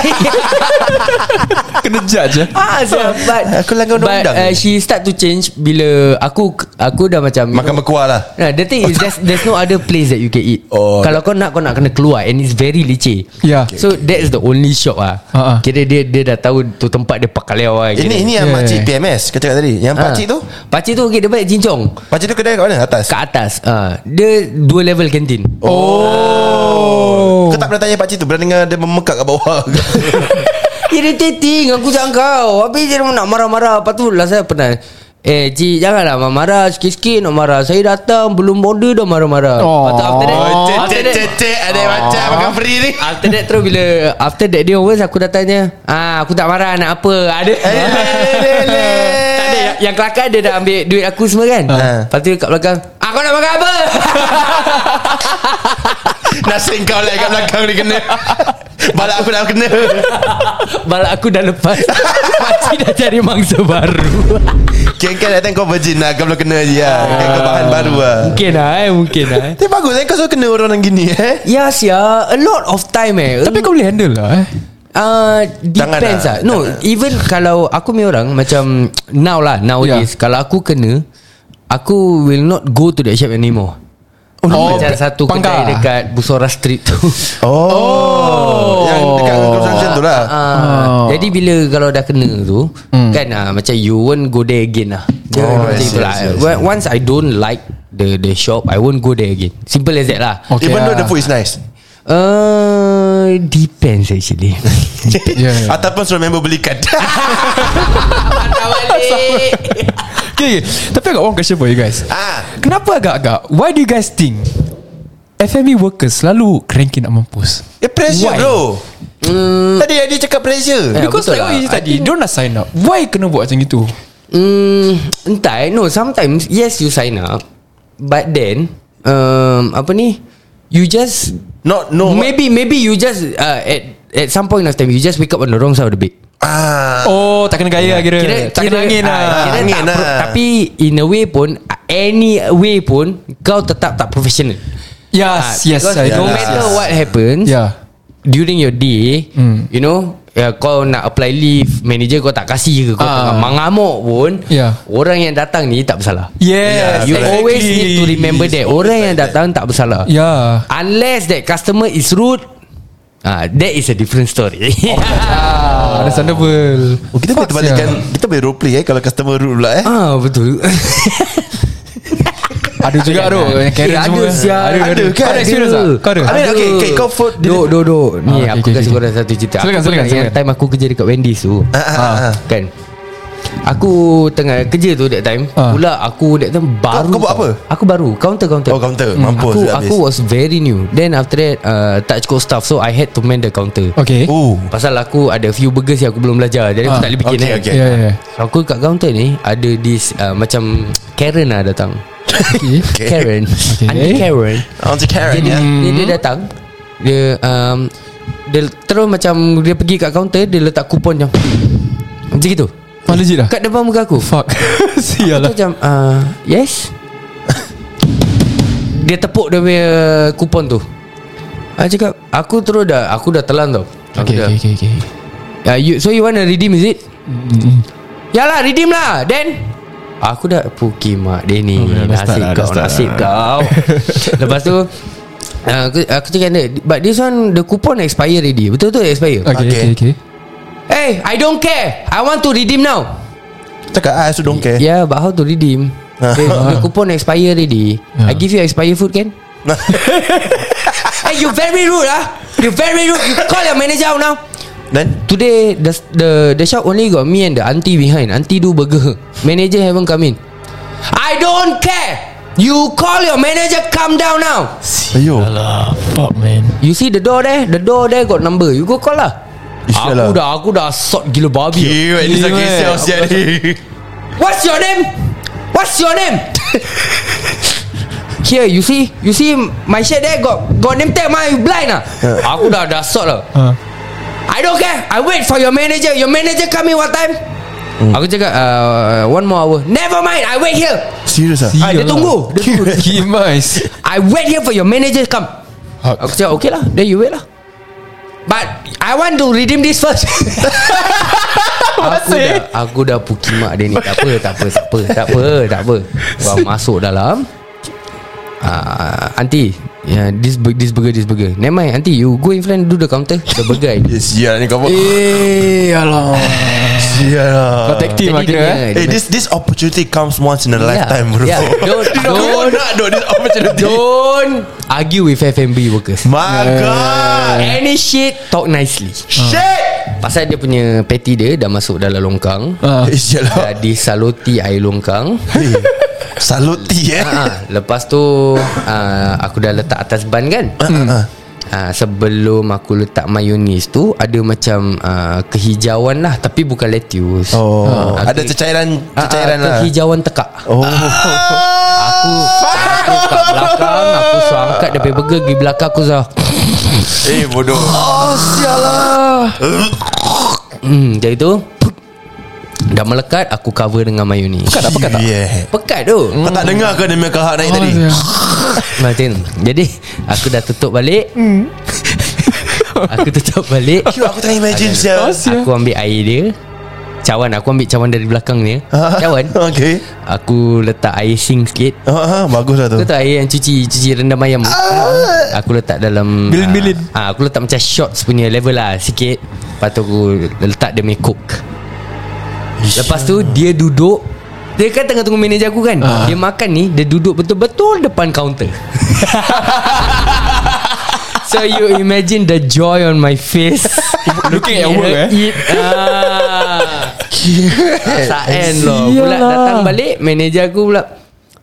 Speaker 4: Kena judge eh.
Speaker 3: ah, sial, but,
Speaker 2: Aku langgar
Speaker 3: But
Speaker 2: undang-undang.
Speaker 3: uh, she start to change Bila aku Aku dah macam
Speaker 2: Makan berkuah lah
Speaker 3: Nah, the thing is there's, there's no other place that you can eat.
Speaker 2: Oh.
Speaker 3: Kalau kau nak kau nak kena keluar and it's very leceh.
Speaker 2: Ya.
Speaker 4: Yeah.
Speaker 3: So that's the only shop ah.
Speaker 4: Ha-ha.
Speaker 3: Kira dia dia dah tahu tu tempat dia pakai ah, lewa.
Speaker 2: Ini ini yang
Speaker 4: Yeah.
Speaker 2: makcik PMS Kau cakap tadi
Speaker 3: Ha.
Speaker 2: Yang pakcik tu
Speaker 3: Ah. Pakcik tu okay, dia balik cincong.
Speaker 2: Pakcik tu kedai kat mana? Atas
Speaker 3: Kat atas. Ah, dia dua level kantin.
Speaker 2: Oh Kau tak pernah tanya pakcik tu Pernah dengar dia memekak kat bawah ke?
Speaker 3: Irritating Aku cakap kau Habis dia nak marah-marah Lepas tu lah saya pernah Eh cik janganlah marah-marah Sikit-sikit nak marah Saya datang belum order dah marah-marah
Speaker 4: Oh.
Speaker 3: Lepas tu after that
Speaker 4: Oh,
Speaker 3: After that Oh.
Speaker 2: cek Ada macam makan free ni
Speaker 3: After that terus bila After that day over Aku datang je ah, Aku tak marah nak apa Ada
Speaker 2: Eh,
Speaker 3: [LAUGHS] Tak ada yang, yang kelakar dia dah ambil duit aku semua kan
Speaker 2: Ah.
Speaker 3: Lepas tu kat belakang ah, Kau nak makan apa [LAUGHS]
Speaker 2: Nasib kau lah kat belakang ni kena Balak aku nak kena
Speaker 3: Balak aku dah
Speaker 2: [LAUGHS]
Speaker 3: lepas Pakcik dah cari mangsa baru
Speaker 2: Kira-kira datang kau virgin lah Kau belum kena je lah Kira kau bahan baru lah
Speaker 3: Mungkin lah eh Mungkin lah eh
Speaker 2: Tapi bagus eh Kau selalu kena orang yang gini eh
Speaker 3: Ya sia A lot of time eh
Speaker 4: Tapi kau boleh handle lah eh.
Speaker 3: uh,
Speaker 2: Jangan
Speaker 3: Depends
Speaker 2: lah,
Speaker 3: lah No
Speaker 2: jangan.
Speaker 3: Even [LAUGHS] kalau Aku punya orang Macam Now lah Nowadays
Speaker 4: Yeah.
Speaker 3: yeah. Kalau aku kena Aku will not go to that shop anymore Oh,
Speaker 4: no.
Speaker 3: macam satu kedai
Speaker 4: Pangkal.
Speaker 3: dekat Busora Street tu
Speaker 2: Oh, Yang dekat construction tu lah
Speaker 3: [LAUGHS] Ah, Jadi bila kalau dah kena tu Kan ah, macam you won't go there again lah Dia
Speaker 2: Oh, I
Speaker 3: macam
Speaker 2: see,
Speaker 3: itulah.
Speaker 2: I see, I
Speaker 3: Well, Once I don't like the the shop I won't go there again Simple as that lah
Speaker 4: Okay
Speaker 2: Even though
Speaker 4: lah.
Speaker 2: the food is nice
Speaker 3: uh, Depends actually [LAUGHS]
Speaker 4: Yeah, yeah.
Speaker 2: Ataupun suruh member [LAUGHS] belikan
Speaker 3: Patah balik
Speaker 4: Okay, okay. Ya, Tapi I got one question for you guys.
Speaker 2: Ah,
Speaker 4: Kenapa agak-agak? Why do you guys think FME workers selalu cranky nak mampus?
Speaker 2: eh, pressure
Speaker 4: Why?
Speaker 2: bro Tadi dia cakap pressure
Speaker 3: Eh,
Speaker 4: Because
Speaker 3: betul
Speaker 4: like what
Speaker 3: lah.
Speaker 4: you tadi, don't dah sign up. Why kena buat macam itu?
Speaker 3: Hmm, entah. eh. No, sometimes yes you sign up, but then um, apa ni? You just
Speaker 2: Not no
Speaker 3: maybe maybe you just uh, at at some point of time you just wake up on the wrong side of the bed.
Speaker 2: Ah,
Speaker 4: Oh, tak kena gaya kira. tak kena angin lah.
Speaker 3: ah, Ya. kira
Speaker 2: Angin
Speaker 3: tak
Speaker 2: lah.
Speaker 3: pro- tapi in a way pun any way pun kau tetap tak professional. Ah,
Speaker 4: yes, yes.
Speaker 3: because
Speaker 4: I
Speaker 3: no
Speaker 4: know.
Speaker 3: matter what happens,
Speaker 4: Yeah. Hmm.
Speaker 3: during your day you know ya, kau nak apply leave manager kau tak kasih ke kau
Speaker 4: Ah.
Speaker 3: tengah mengamuk pun
Speaker 4: Yeah.
Speaker 3: orang yang datang ni tak bersalah
Speaker 4: Yes,
Speaker 3: you
Speaker 4: exactly.
Speaker 3: always need to remember that orang yang datang tak bersalah
Speaker 4: Yeah.
Speaker 3: unless that customer is rude ah that is a different story Oh. [LAUGHS]
Speaker 4: Ah, understandable.
Speaker 2: Oh, kita boleh
Speaker 4: Fuck,
Speaker 2: terbalikkan
Speaker 4: sia.
Speaker 2: Kita boleh roleplay eh Kalau customer rude pula eh
Speaker 3: ah betul
Speaker 4: Ada juga tu
Speaker 2: Oh,
Speaker 4: yang
Speaker 3: Eh,
Speaker 4: Karen
Speaker 3: ada
Speaker 4: semua.
Speaker 3: sial.
Speaker 2: Ada kan? ke?
Speaker 4: Kau ada experience tak? Kau
Speaker 2: I
Speaker 4: ada?
Speaker 2: mean, okay, okay, kau food-
Speaker 3: Do, do, do. Ni
Speaker 4: Ah, okay,
Speaker 3: aku
Speaker 4: okay,
Speaker 3: kasih
Speaker 4: okay.
Speaker 3: korang satu cerita
Speaker 4: Silakan,
Speaker 3: Aku
Speaker 4: silakan,
Speaker 3: pernah Yang
Speaker 4: silakan.
Speaker 3: time aku kerja dekat Wendy's tu
Speaker 2: Ah, ah, ah, ah.
Speaker 3: Kan Aku tengah kerja tu that time
Speaker 4: Ah.
Speaker 3: Pula aku that time baru
Speaker 2: kau buat
Speaker 3: tau.
Speaker 2: apa?
Speaker 3: Aku baru Counter counter
Speaker 2: Oh, counter.
Speaker 4: Hmm.
Speaker 2: Mampus,
Speaker 3: Aku,
Speaker 2: habis.
Speaker 3: aku was very new Then after that uh, Tak cukup staff So I had to man the counter
Speaker 4: Okay.
Speaker 2: Oh
Speaker 3: Pasal aku ada few burgers yang aku belum belajar Jadi aku
Speaker 4: Ah,
Speaker 3: tak boleh bikin
Speaker 2: okay,
Speaker 3: kan.
Speaker 2: okay.
Speaker 4: Yeah, yeah.
Speaker 3: So aku kat counter ni Ada this uh, Macam Karen lah datang okay. [LAUGHS] Karen okay. Auntie Karen
Speaker 2: Auntie Karen
Speaker 3: Jadi
Speaker 2: ya.
Speaker 3: dia, dia datang Dia um, Dia terus macam Dia pergi kat kaunter Dia letak kupon macam Macam gitu
Speaker 4: Wah legit lah
Speaker 3: Kat depan muka aku
Speaker 4: Fuck [LAUGHS] Sial
Speaker 3: Aku
Speaker 4: lah
Speaker 3: macam uh, Yes [LAUGHS] Dia tepuk dia punya kupon tu Aku cakap Aku terus dah Aku dah telan tau Aku
Speaker 4: Okay
Speaker 3: dah,
Speaker 4: okay okay, okay.
Speaker 3: Uh, you, so you want to redeem is it? Mm-hmm. Yalah redeem lah Then Aku dah Puki mak dia ni
Speaker 4: dah
Speaker 3: Nasib
Speaker 4: start lah,
Speaker 3: kau
Speaker 4: dah start
Speaker 3: Nasib
Speaker 4: lah. [LAUGHS]
Speaker 3: kau Lepas tu uh, aku, aku cakap dia But this one The coupon expire already Betul-betul expire okay.
Speaker 4: Okay okay,
Speaker 2: Okay.
Speaker 4: okay.
Speaker 3: Hey I don't care I want to redeem now
Speaker 2: Cakap ah, I also don't care
Speaker 3: Yeah but how to redeem
Speaker 4: Ah.
Speaker 3: the, the coupon expire already I give you expire food
Speaker 4: [LAUGHS]
Speaker 3: can? hey you very rude ah You very rude You call your manager out now
Speaker 2: Then
Speaker 3: Today the the the shop only got me and the auntie behind. Auntie do burger. Manager haven't come in. I don't care. You call your manager. Come down now.
Speaker 2: Ayo
Speaker 6: Alah Ah, Fuck man
Speaker 3: You see the door there. The door there got number. You go call lah.
Speaker 2: Isyal
Speaker 3: Aku
Speaker 2: lah.
Speaker 3: dah aku dah sort gila babi.
Speaker 2: You at least
Speaker 4: You,
Speaker 2: aku
Speaker 4: eh.
Speaker 2: siap siap ni
Speaker 3: What's your name? What's your name? Here you see You see My shirt there Got got name tag mah You blind lah Aku dah dah sort lah
Speaker 4: Ha.
Speaker 3: I don't care I wait for your manager Your manager come in what time? Aku cakap uh, One more hour Never mind I wait here
Speaker 2: Serius lah
Speaker 3: ah, Dia
Speaker 4: Sial
Speaker 3: tunggu
Speaker 4: [LAUGHS]
Speaker 3: Dia tunggu
Speaker 4: Gimais
Speaker 3: I wait here for your manager come Aku cakap okay lah Then you wait lah But I want to redeem this first Aku dah Aku dah puki mak dia ni Tak apa tak apa tak apa Tak apa tak apa Orang masuk dalam uh, Auntie yeah, this, bur- this burger this burger Never mind auntie You go in front do the counter The burger I
Speaker 2: Eh sial ni kau buat
Speaker 6: Eh Alah
Speaker 2: Sial lah
Speaker 4: Kau tag team lah
Speaker 3: Jadi
Speaker 4: kira
Speaker 3: dia-
Speaker 4: eh
Speaker 2: Eh this this opportunity comes once in a lifetime bro [LAUGHS]
Speaker 3: Yeah. Don't,
Speaker 2: Kau
Speaker 3: don't,
Speaker 2: nak duk this opportunity
Speaker 3: don't argue with FMB workers. Eh.
Speaker 2: My god
Speaker 3: Any shit talk nicely.
Speaker 2: Shit
Speaker 3: Pasal dia punya patty dia dah masuk dalam longkang.
Speaker 4: Ah.
Speaker 2: Eh sial
Speaker 3: Dah
Speaker 2: lah
Speaker 3: disaluti air longkang.
Speaker 2: Eh, Saluti eh
Speaker 3: Ha, lepas tu uh, aku dah letak atas ban kan.
Speaker 2: Ah,
Speaker 3: Uh, sebelum aku letak mayonis tu ada macam uh, kehijauan lah tapi bukan lettuce.
Speaker 2: Oh
Speaker 3: Ah,
Speaker 2: Ada cecairan
Speaker 3: Ah, ah,
Speaker 2: Cecairan lah Ah.
Speaker 3: Kehijauan tekak. Ha,
Speaker 2: Oh
Speaker 3: Aku Aku kat belakang Aku suruh angkat Dia punya burger Pergi belakang aku suruh
Speaker 2: Eh bodoh
Speaker 3: Hmm [CLEARS THROAT] Jadi tu Dah melekat Aku cover dengan mayonis Pekat
Speaker 2: tak yeah.
Speaker 3: Pekat tu
Speaker 2: Kau tak dengar ke Dia punya kahak naik tadi
Speaker 3: Macam tu. Jadi Aku dah tutup balik [LAUGHS] Aku tutup balik
Speaker 2: Yo, Aku tak imagine sial
Speaker 3: Aku ambil air dia Cawan Aku ambil cawan dari belakang dia Cawan
Speaker 2: [LAUGHS] Okay
Speaker 3: Aku letak air sink sikit
Speaker 2: Ah, ah, Bagus lah tu
Speaker 3: Kau tahu air yang cuci Cuci rendam ayam tu?
Speaker 4: Ah.
Speaker 3: Aku letak dalam
Speaker 4: Bilin-bilin.
Speaker 3: ah, ah, Aku letak macam shots punya level lah Sikit Lepas tu aku letak dia punya coke Lepas tu dia duduk Dia kan tengah tunggu manager aku kan
Speaker 4: Ah.
Speaker 3: Dia makan ni Dia duduk betul-betul depan
Speaker 4: [LAUGHS]
Speaker 3: counter So you imagine the joy on my face
Speaker 4: Looking at work eh
Speaker 3: Eat ah. Saen loh Pula
Speaker 4: Sialah.
Speaker 3: datang balik Manager aku pula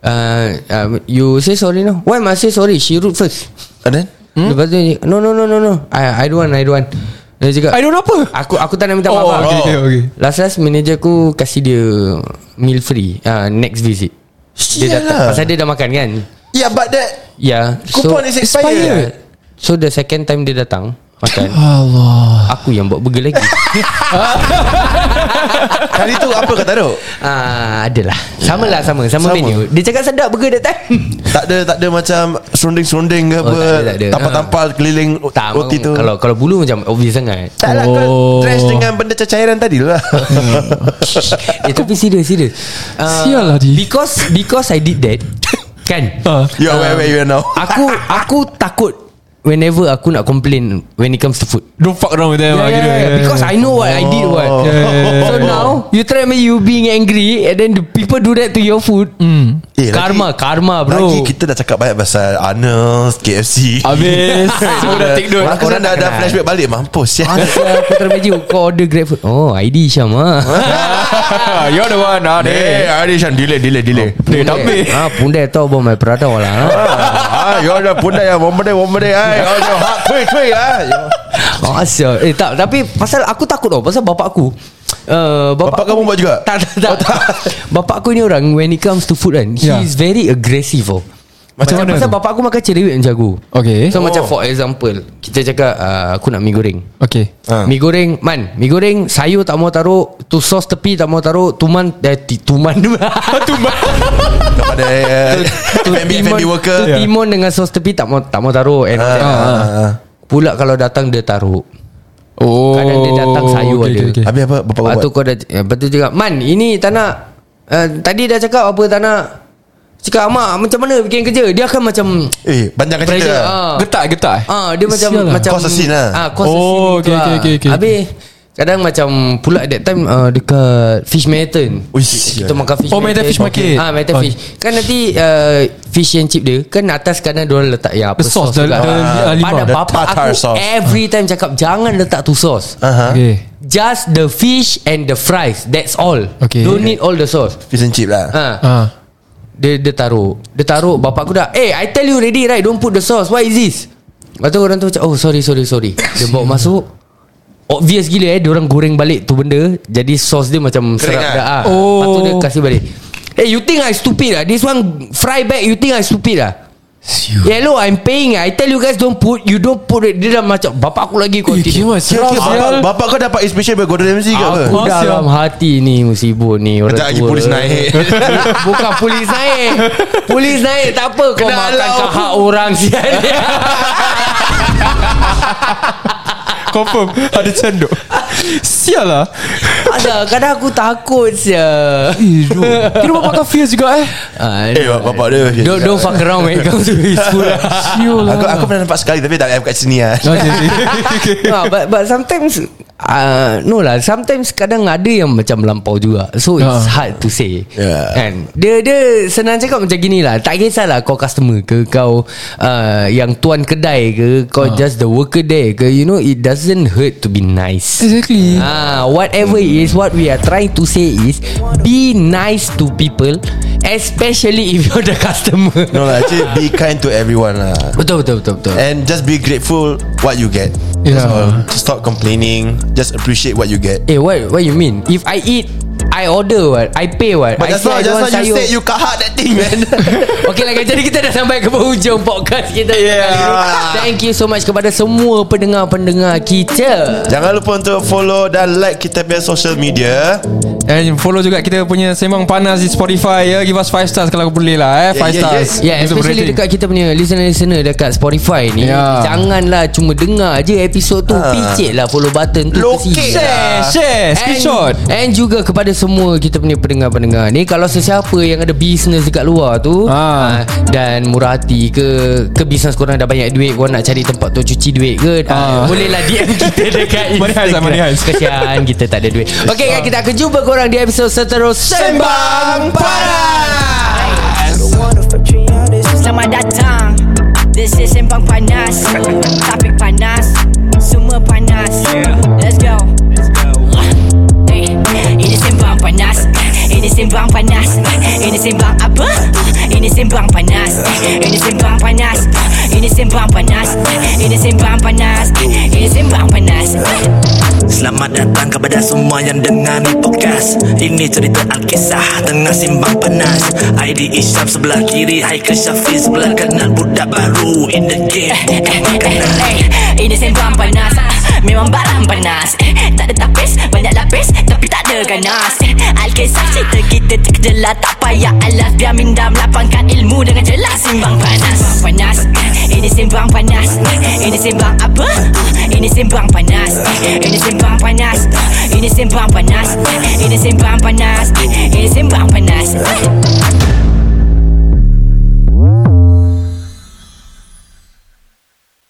Speaker 3: uh, uh, You say sorry no Why must say sorry She rude first
Speaker 2: And then
Speaker 3: hmm? Lepas tu dia, No no no no no I, I don't want I don't want Dia cakap
Speaker 4: I don't know apa
Speaker 3: Aku aku tak nak minta
Speaker 4: Oh
Speaker 3: maaf oh,
Speaker 4: okay okay, okay.
Speaker 3: Last last manager aku Kasih dia Meal free uh, Next visit Dia
Speaker 4: lah.
Speaker 3: datang Pasal dia dah makan kan
Speaker 2: lah. Yeah but that
Speaker 3: Ya yeah,
Speaker 2: Coupon is expired
Speaker 3: So the second time dia datang
Speaker 4: [LAUGHS]
Speaker 3: Makan Aku yang buat burger lagi
Speaker 2: Kali tu apa kau tak duk
Speaker 3: Ah, adalah. Sama lah sama, sama,
Speaker 2: Sama.
Speaker 3: menu. Dia cakap sedap burger that time.
Speaker 2: Tak ada tak ada macam Serunding-serunding ke apa
Speaker 3: Oh, tak ada, tak ada.
Speaker 2: Tampal-tampal keliling o-
Speaker 3: [LAUGHS] tak,
Speaker 2: Roti tu
Speaker 3: kalau kalau bulu macam obvious sangat.
Speaker 2: Tak lah kau
Speaker 4: Oh.
Speaker 2: Trash dengan benda cacairan tadi tu lah
Speaker 3: Hmm. eh, tapi serius, serius. Uh,
Speaker 4: Sial lah dia.
Speaker 3: Because because I did that. [COUGHS] kan?
Speaker 4: Ah.
Speaker 2: [LAUGHS] You are where, where you are now
Speaker 3: Aku aku takut whenever aku nak complain when it comes to food.
Speaker 4: Don't fuck around with them lah kira
Speaker 3: because I know what I did what.
Speaker 4: yeah,
Speaker 3: So
Speaker 4: yeah.
Speaker 3: now you try me you being angry and then the people do that to your food.
Speaker 4: Hmm.
Speaker 3: Mm.
Speaker 2: Eh,
Speaker 3: karma,
Speaker 2: lagi-
Speaker 3: karma Ah, bro. Ah,
Speaker 2: Lagi kita dah cakap banyak pasal Arnold's KFC
Speaker 4: Habis [LAUGHS] Semua dah take note
Speaker 2: Orang,
Speaker 3: Aku
Speaker 2: orang
Speaker 3: tak
Speaker 2: dah ada
Speaker 3: kenal.
Speaker 2: flashback balik Mampus ya
Speaker 3: Asal Putra Magic [LAUGHS] Kau order grab food Oh ID Syam ah.
Speaker 4: You're the one ah,
Speaker 2: Eh,
Speaker 4: deh.
Speaker 2: Arishan delay delay delay.
Speaker 4: Deh, tak habis
Speaker 3: Ah, pundai tahu about my prada lah.
Speaker 2: Ah, you ada pundai [LAUGHS] ya, bombade bombade ai. Oh, you hot quick quick ah.
Speaker 3: Ah, sial. Eh tak, tapi pasal aku takut tau pasal bapak aku. uh,
Speaker 2: Bapak kamu buat juga?
Speaker 3: Tak tak tak, [LAUGHS] Bapak aku ni orang When it comes to food kan yeah. He
Speaker 4: Yeah.
Speaker 3: is very aggressive oh.
Speaker 4: Macam
Speaker 3: Macam
Speaker 4: mana
Speaker 3: pasal
Speaker 4: tu?
Speaker 3: bapak aku makan cerewet dan jagu
Speaker 4: Okay.
Speaker 3: So
Speaker 4: So,
Speaker 3: oh. macam for example Kita cakap uh, Aku nak mi goreng
Speaker 4: okay.
Speaker 2: Ha.
Speaker 3: Ha. Mi goreng Man Mi goreng Sayur tak mau taruh Tu sos tepi tak mau taruh Tuman eh, ti, Tuman [LAUGHS] Tuman
Speaker 2: Kepada eh,
Speaker 3: tu
Speaker 2: F&B
Speaker 3: timun,
Speaker 2: F&B worker Ya.
Speaker 3: tu timun dengan sos tepi tak mau tak mau taruh and
Speaker 2: Ah,
Speaker 3: ah.
Speaker 2: ah, ah.
Speaker 3: pula kalau datang dia taruh
Speaker 4: Oh.
Speaker 3: kadang dia datang sayur
Speaker 4: okay,
Speaker 3: ada.
Speaker 4: Okay, okay.
Speaker 2: Habis apa Bapak
Speaker 3: lepas
Speaker 2: buat
Speaker 3: tu kau dah ya, lepas tu cakap man ini tak nak uh, tadi dah cakap apa tak nak cakap amak macam mana bikin kerja dia akan macam
Speaker 2: Eh panjangkan cerita
Speaker 3: pressure
Speaker 2: lah.
Speaker 3: ah.
Speaker 4: Getak, getak. eh?
Speaker 3: Ah dia macam
Speaker 4: Sial lah.
Speaker 3: macam
Speaker 2: Cause a scene lah.
Speaker 3: Ah cause a
Speaker 4: Oh,
Speaker 3: scene
Speaker 4: okay,
Speaker 3: gitu
Speaker 4: okay,
Speaker 3: lah.
Speaker 4: okay, okay.
Speaker 3: Habis kadang macam pula that time uh, dekat Fish Manhattan.
Speaker 2: Ui, sial.
Speaker 3: kita makan fish.
Speaker 4: Oh, Manhattan Fish Market.
Speaker 3: Ah, Manhattan
Speaker 4: Oh.
Speaker 3: Fish. Kan nanti uh, fish and chip dia kan atas kanan dia orang letak ya apa
Speaker 4: The sauce,
Speaker 3: tu
Speaker 4: the, the, uh,
Speaker 3: lah.
Speaker 4: the,
Speaker 3: Pada
Speaker 4: lima.
Speaker 2: The
Speaker 3: bapak
Speaker 2: Ah, tartar
Speaker 3: aku
Speaker 2: sauce. Ah.
Speaker 3: every time cakap jangan letak tu sauce.
Speaker 2: Aha.
Speaker 4: Okay.
Speaker 3: Just the fish and the fries. That's all.
Speaker 4: Okay.
Speaker 3: Don't need all the sauce.
Speaker 2: Fish and chip lah
Speaker 3: Ah.
Speaker 4: Ah.
Speaker 3: Dia dia taruh Dia taruh bapak aku dah Eh I tell you already right Don't put the sauce What is this Lepas tu orang tu macam Oh sorry sorry sorry Dia bawa masuk Obvious gila eh Diorang goreng balik tu benda Jadi sauce dia macam
Speaker 2: Kering
Speaker 3: Serap
Speaker 2: ah?
Speaker 3: dah ah.
Speaker 4: Oh.
Speaker 3: Lepas tu dia kasih balik Hey you think I stupid ah? This one fry back You think I stupid ah? Yeah hello I'm paying ah. I tell you guys don't put You don't put it Dia dah macam Bapak aku lagi
Speaker 4: Eh,
Speaker 3: continue
Speaker 2: Kira
Speaker 4: kira serap
Speaker 2: -kira bapak,
Speaker 4: sial.
Speaker 2: bapak kau dapat inspiration Dari Gordon Ramsay ke apa
Speaker 3: Aku
Speaker 4: Kau sial.
Speaker 3: dalam hati ni Musibut ni Orang
Speaker 2: Kejap lagi
Speaker 3: tua.
Speaker 2: polis
Speaker 3: [LAUGHS]
Speaker 2: naik.
Speaker 3: Bukan polis naik Polis naik tak apa Kau
Speaker 2: Kena
Speaker 3: makan
Speaker 2: halau.
Speaker 3: kahak orang [LAUGHS] sial
Speaker 4: Confirm Ada cendok Sial lah
Speaker 3: Ada kadang aku takut sial
Speaker 4: Eh, Kira bapak kau fierce juga eh
Speaker 3: Ah,
Speaker 2: Eh bapak dia
Speaker 3: Don't, don't fuck around when it comes to his food
Speaker 4: Siul lah.
Speaker 2: Aku, aku pernah nampak sekali Tapi tak payah kat sini
Speaker 3: [LAUGHS]
Speaker 2: lah
Speaker 3: no, Ah, but, but sometimes uh, No lah Sometimes kadang ada yang macam melampau juga So it's
Speaker 4: Ah.
Speaker 3: hard to say
Speaker 2: Yeah.
Speaker 3: Kan Dia dia senang cakap macam gini lah Tak kisahlah kau customer ke Kau uh, yang tuan kedai ke Kau
Speaker 4: Ah.
Speaker 3: just the worker there ke You know it doesn't hurt to be nice
Speaker 4: Exactly
Speaker 3: Ah, whatever it is, what we are trying to say is be nice to people, especially if you're the customer.
Speaker 2: No lah Actually be kind to everyone lah
Speaker 3: Betul betul betul betul.
Speaker 2: And just be grateful What you get
Speaker 4: Yeah.
Speaker 2: That's all. Stop complaining Just appreciate what you get
Speaker 3: Eh, what what you mean? If I eat, I order what, I pay what.
Speaker 2: But
Speaker 3: I
Speaker 2: just
Speaker 3: say
Speaker 2: now
Speaker 3: I
Speaker 2: Just
Speaker 3: don't
Speaker 2: now
Speaker 3: want
Speaker 2: you
Speaker 3: sayur. [LAUGHS]
Speaker 2: said You kahak that thing man
Speaker 3: Okay lah guys Jadi kita dah sampai ke penghujung podcast kita
Speaker 2: Yeah.
Speaker 3: Thank you so much kepada semua pendengar-pendengar kita
Speaker 2: Jangan lupa untuk follow Dan like kita punya social media
Speaker 4: And follow juga kita punya Sembang Panas di Spotify ya Give us 5 stars kalau boleh lah eh 5
Speaker 2: Yeah, yeah,
Speaker 4: stars
Speaker 3: Ya yeah,
Speaker 4: Untuk
Speaker 3: especially
Speaker 4: rating.
Speaker 3: dekat kita punya listener-listener dekat Spotify ni
Speaker 4: Yeah.
Speaker 3: Janganlah cuma dengar je episod tu
Speaker 2: Ah.
Speaker 3: Picit lah follow button tu
Speaker 2: Lokek
Speaker 3: kesini
Speaker 2: lah.
Speaker 4: Share Share Screenshot
Speaker 3: And, and juga kepada semua kita punya pendengar-pendengar ni Kalau sesiapa yang ada bisnes dekat luar tu
Speaker 4: Ah.
Speaker 3: ah. Dan murah hati ke Ke bisnes korang dah banyak duit Korang nak cari tempat tu cuci duit ke ah.
Speaker 4: Ah.
Speaker 3: Bolehlah DM kita dekat
Speaker 4: Money heist lah,
Speaker 3: Instagram
Speaker 4: money heist.
Speaker 3: Kesian kita tak ada duit Okay guys kita akan jumpa korang di episod seterusnya
Speaker 4: Sembang Panas
Speaker 1: Selamat datang This is Sembang Panas Topik panas Semua panas Let's go Eh, Ini Sembang Panas Ini Sembang Panas Ini Sembang apa? Ini Sembang Panas Ini Sembang Panas Ini Sembang Panas Ini Sembang Panas Ini Sembang Panas
Speaker 5: Selamat datang kepada semua yang dengar ni podcast Ini cerita Alkisah tengah simbang panas ID Isyam sebelah kiri Haikal Syafiq sebelah kanan Budak baru in the game bukan makanan
Speaker 1: Eh, Ini sembang panas Ah, Memang barang panas Eh, Tak ada tapis Banyak lapis Tapi tak ada ganas Eh, Alkisah cerita kita terkejelah Tak payah alas Biar minda melapangkan ilmu Dengan jelas Simbang panas Sembang panas Eh, Ini sembang panas Eh, Ini sembang apa? Ah, Ini sembang panas Eh, Ini sembang panas Ah, Ini sembang panas Eh, Ini sembang panas Eh, Ini sembang panas Eh.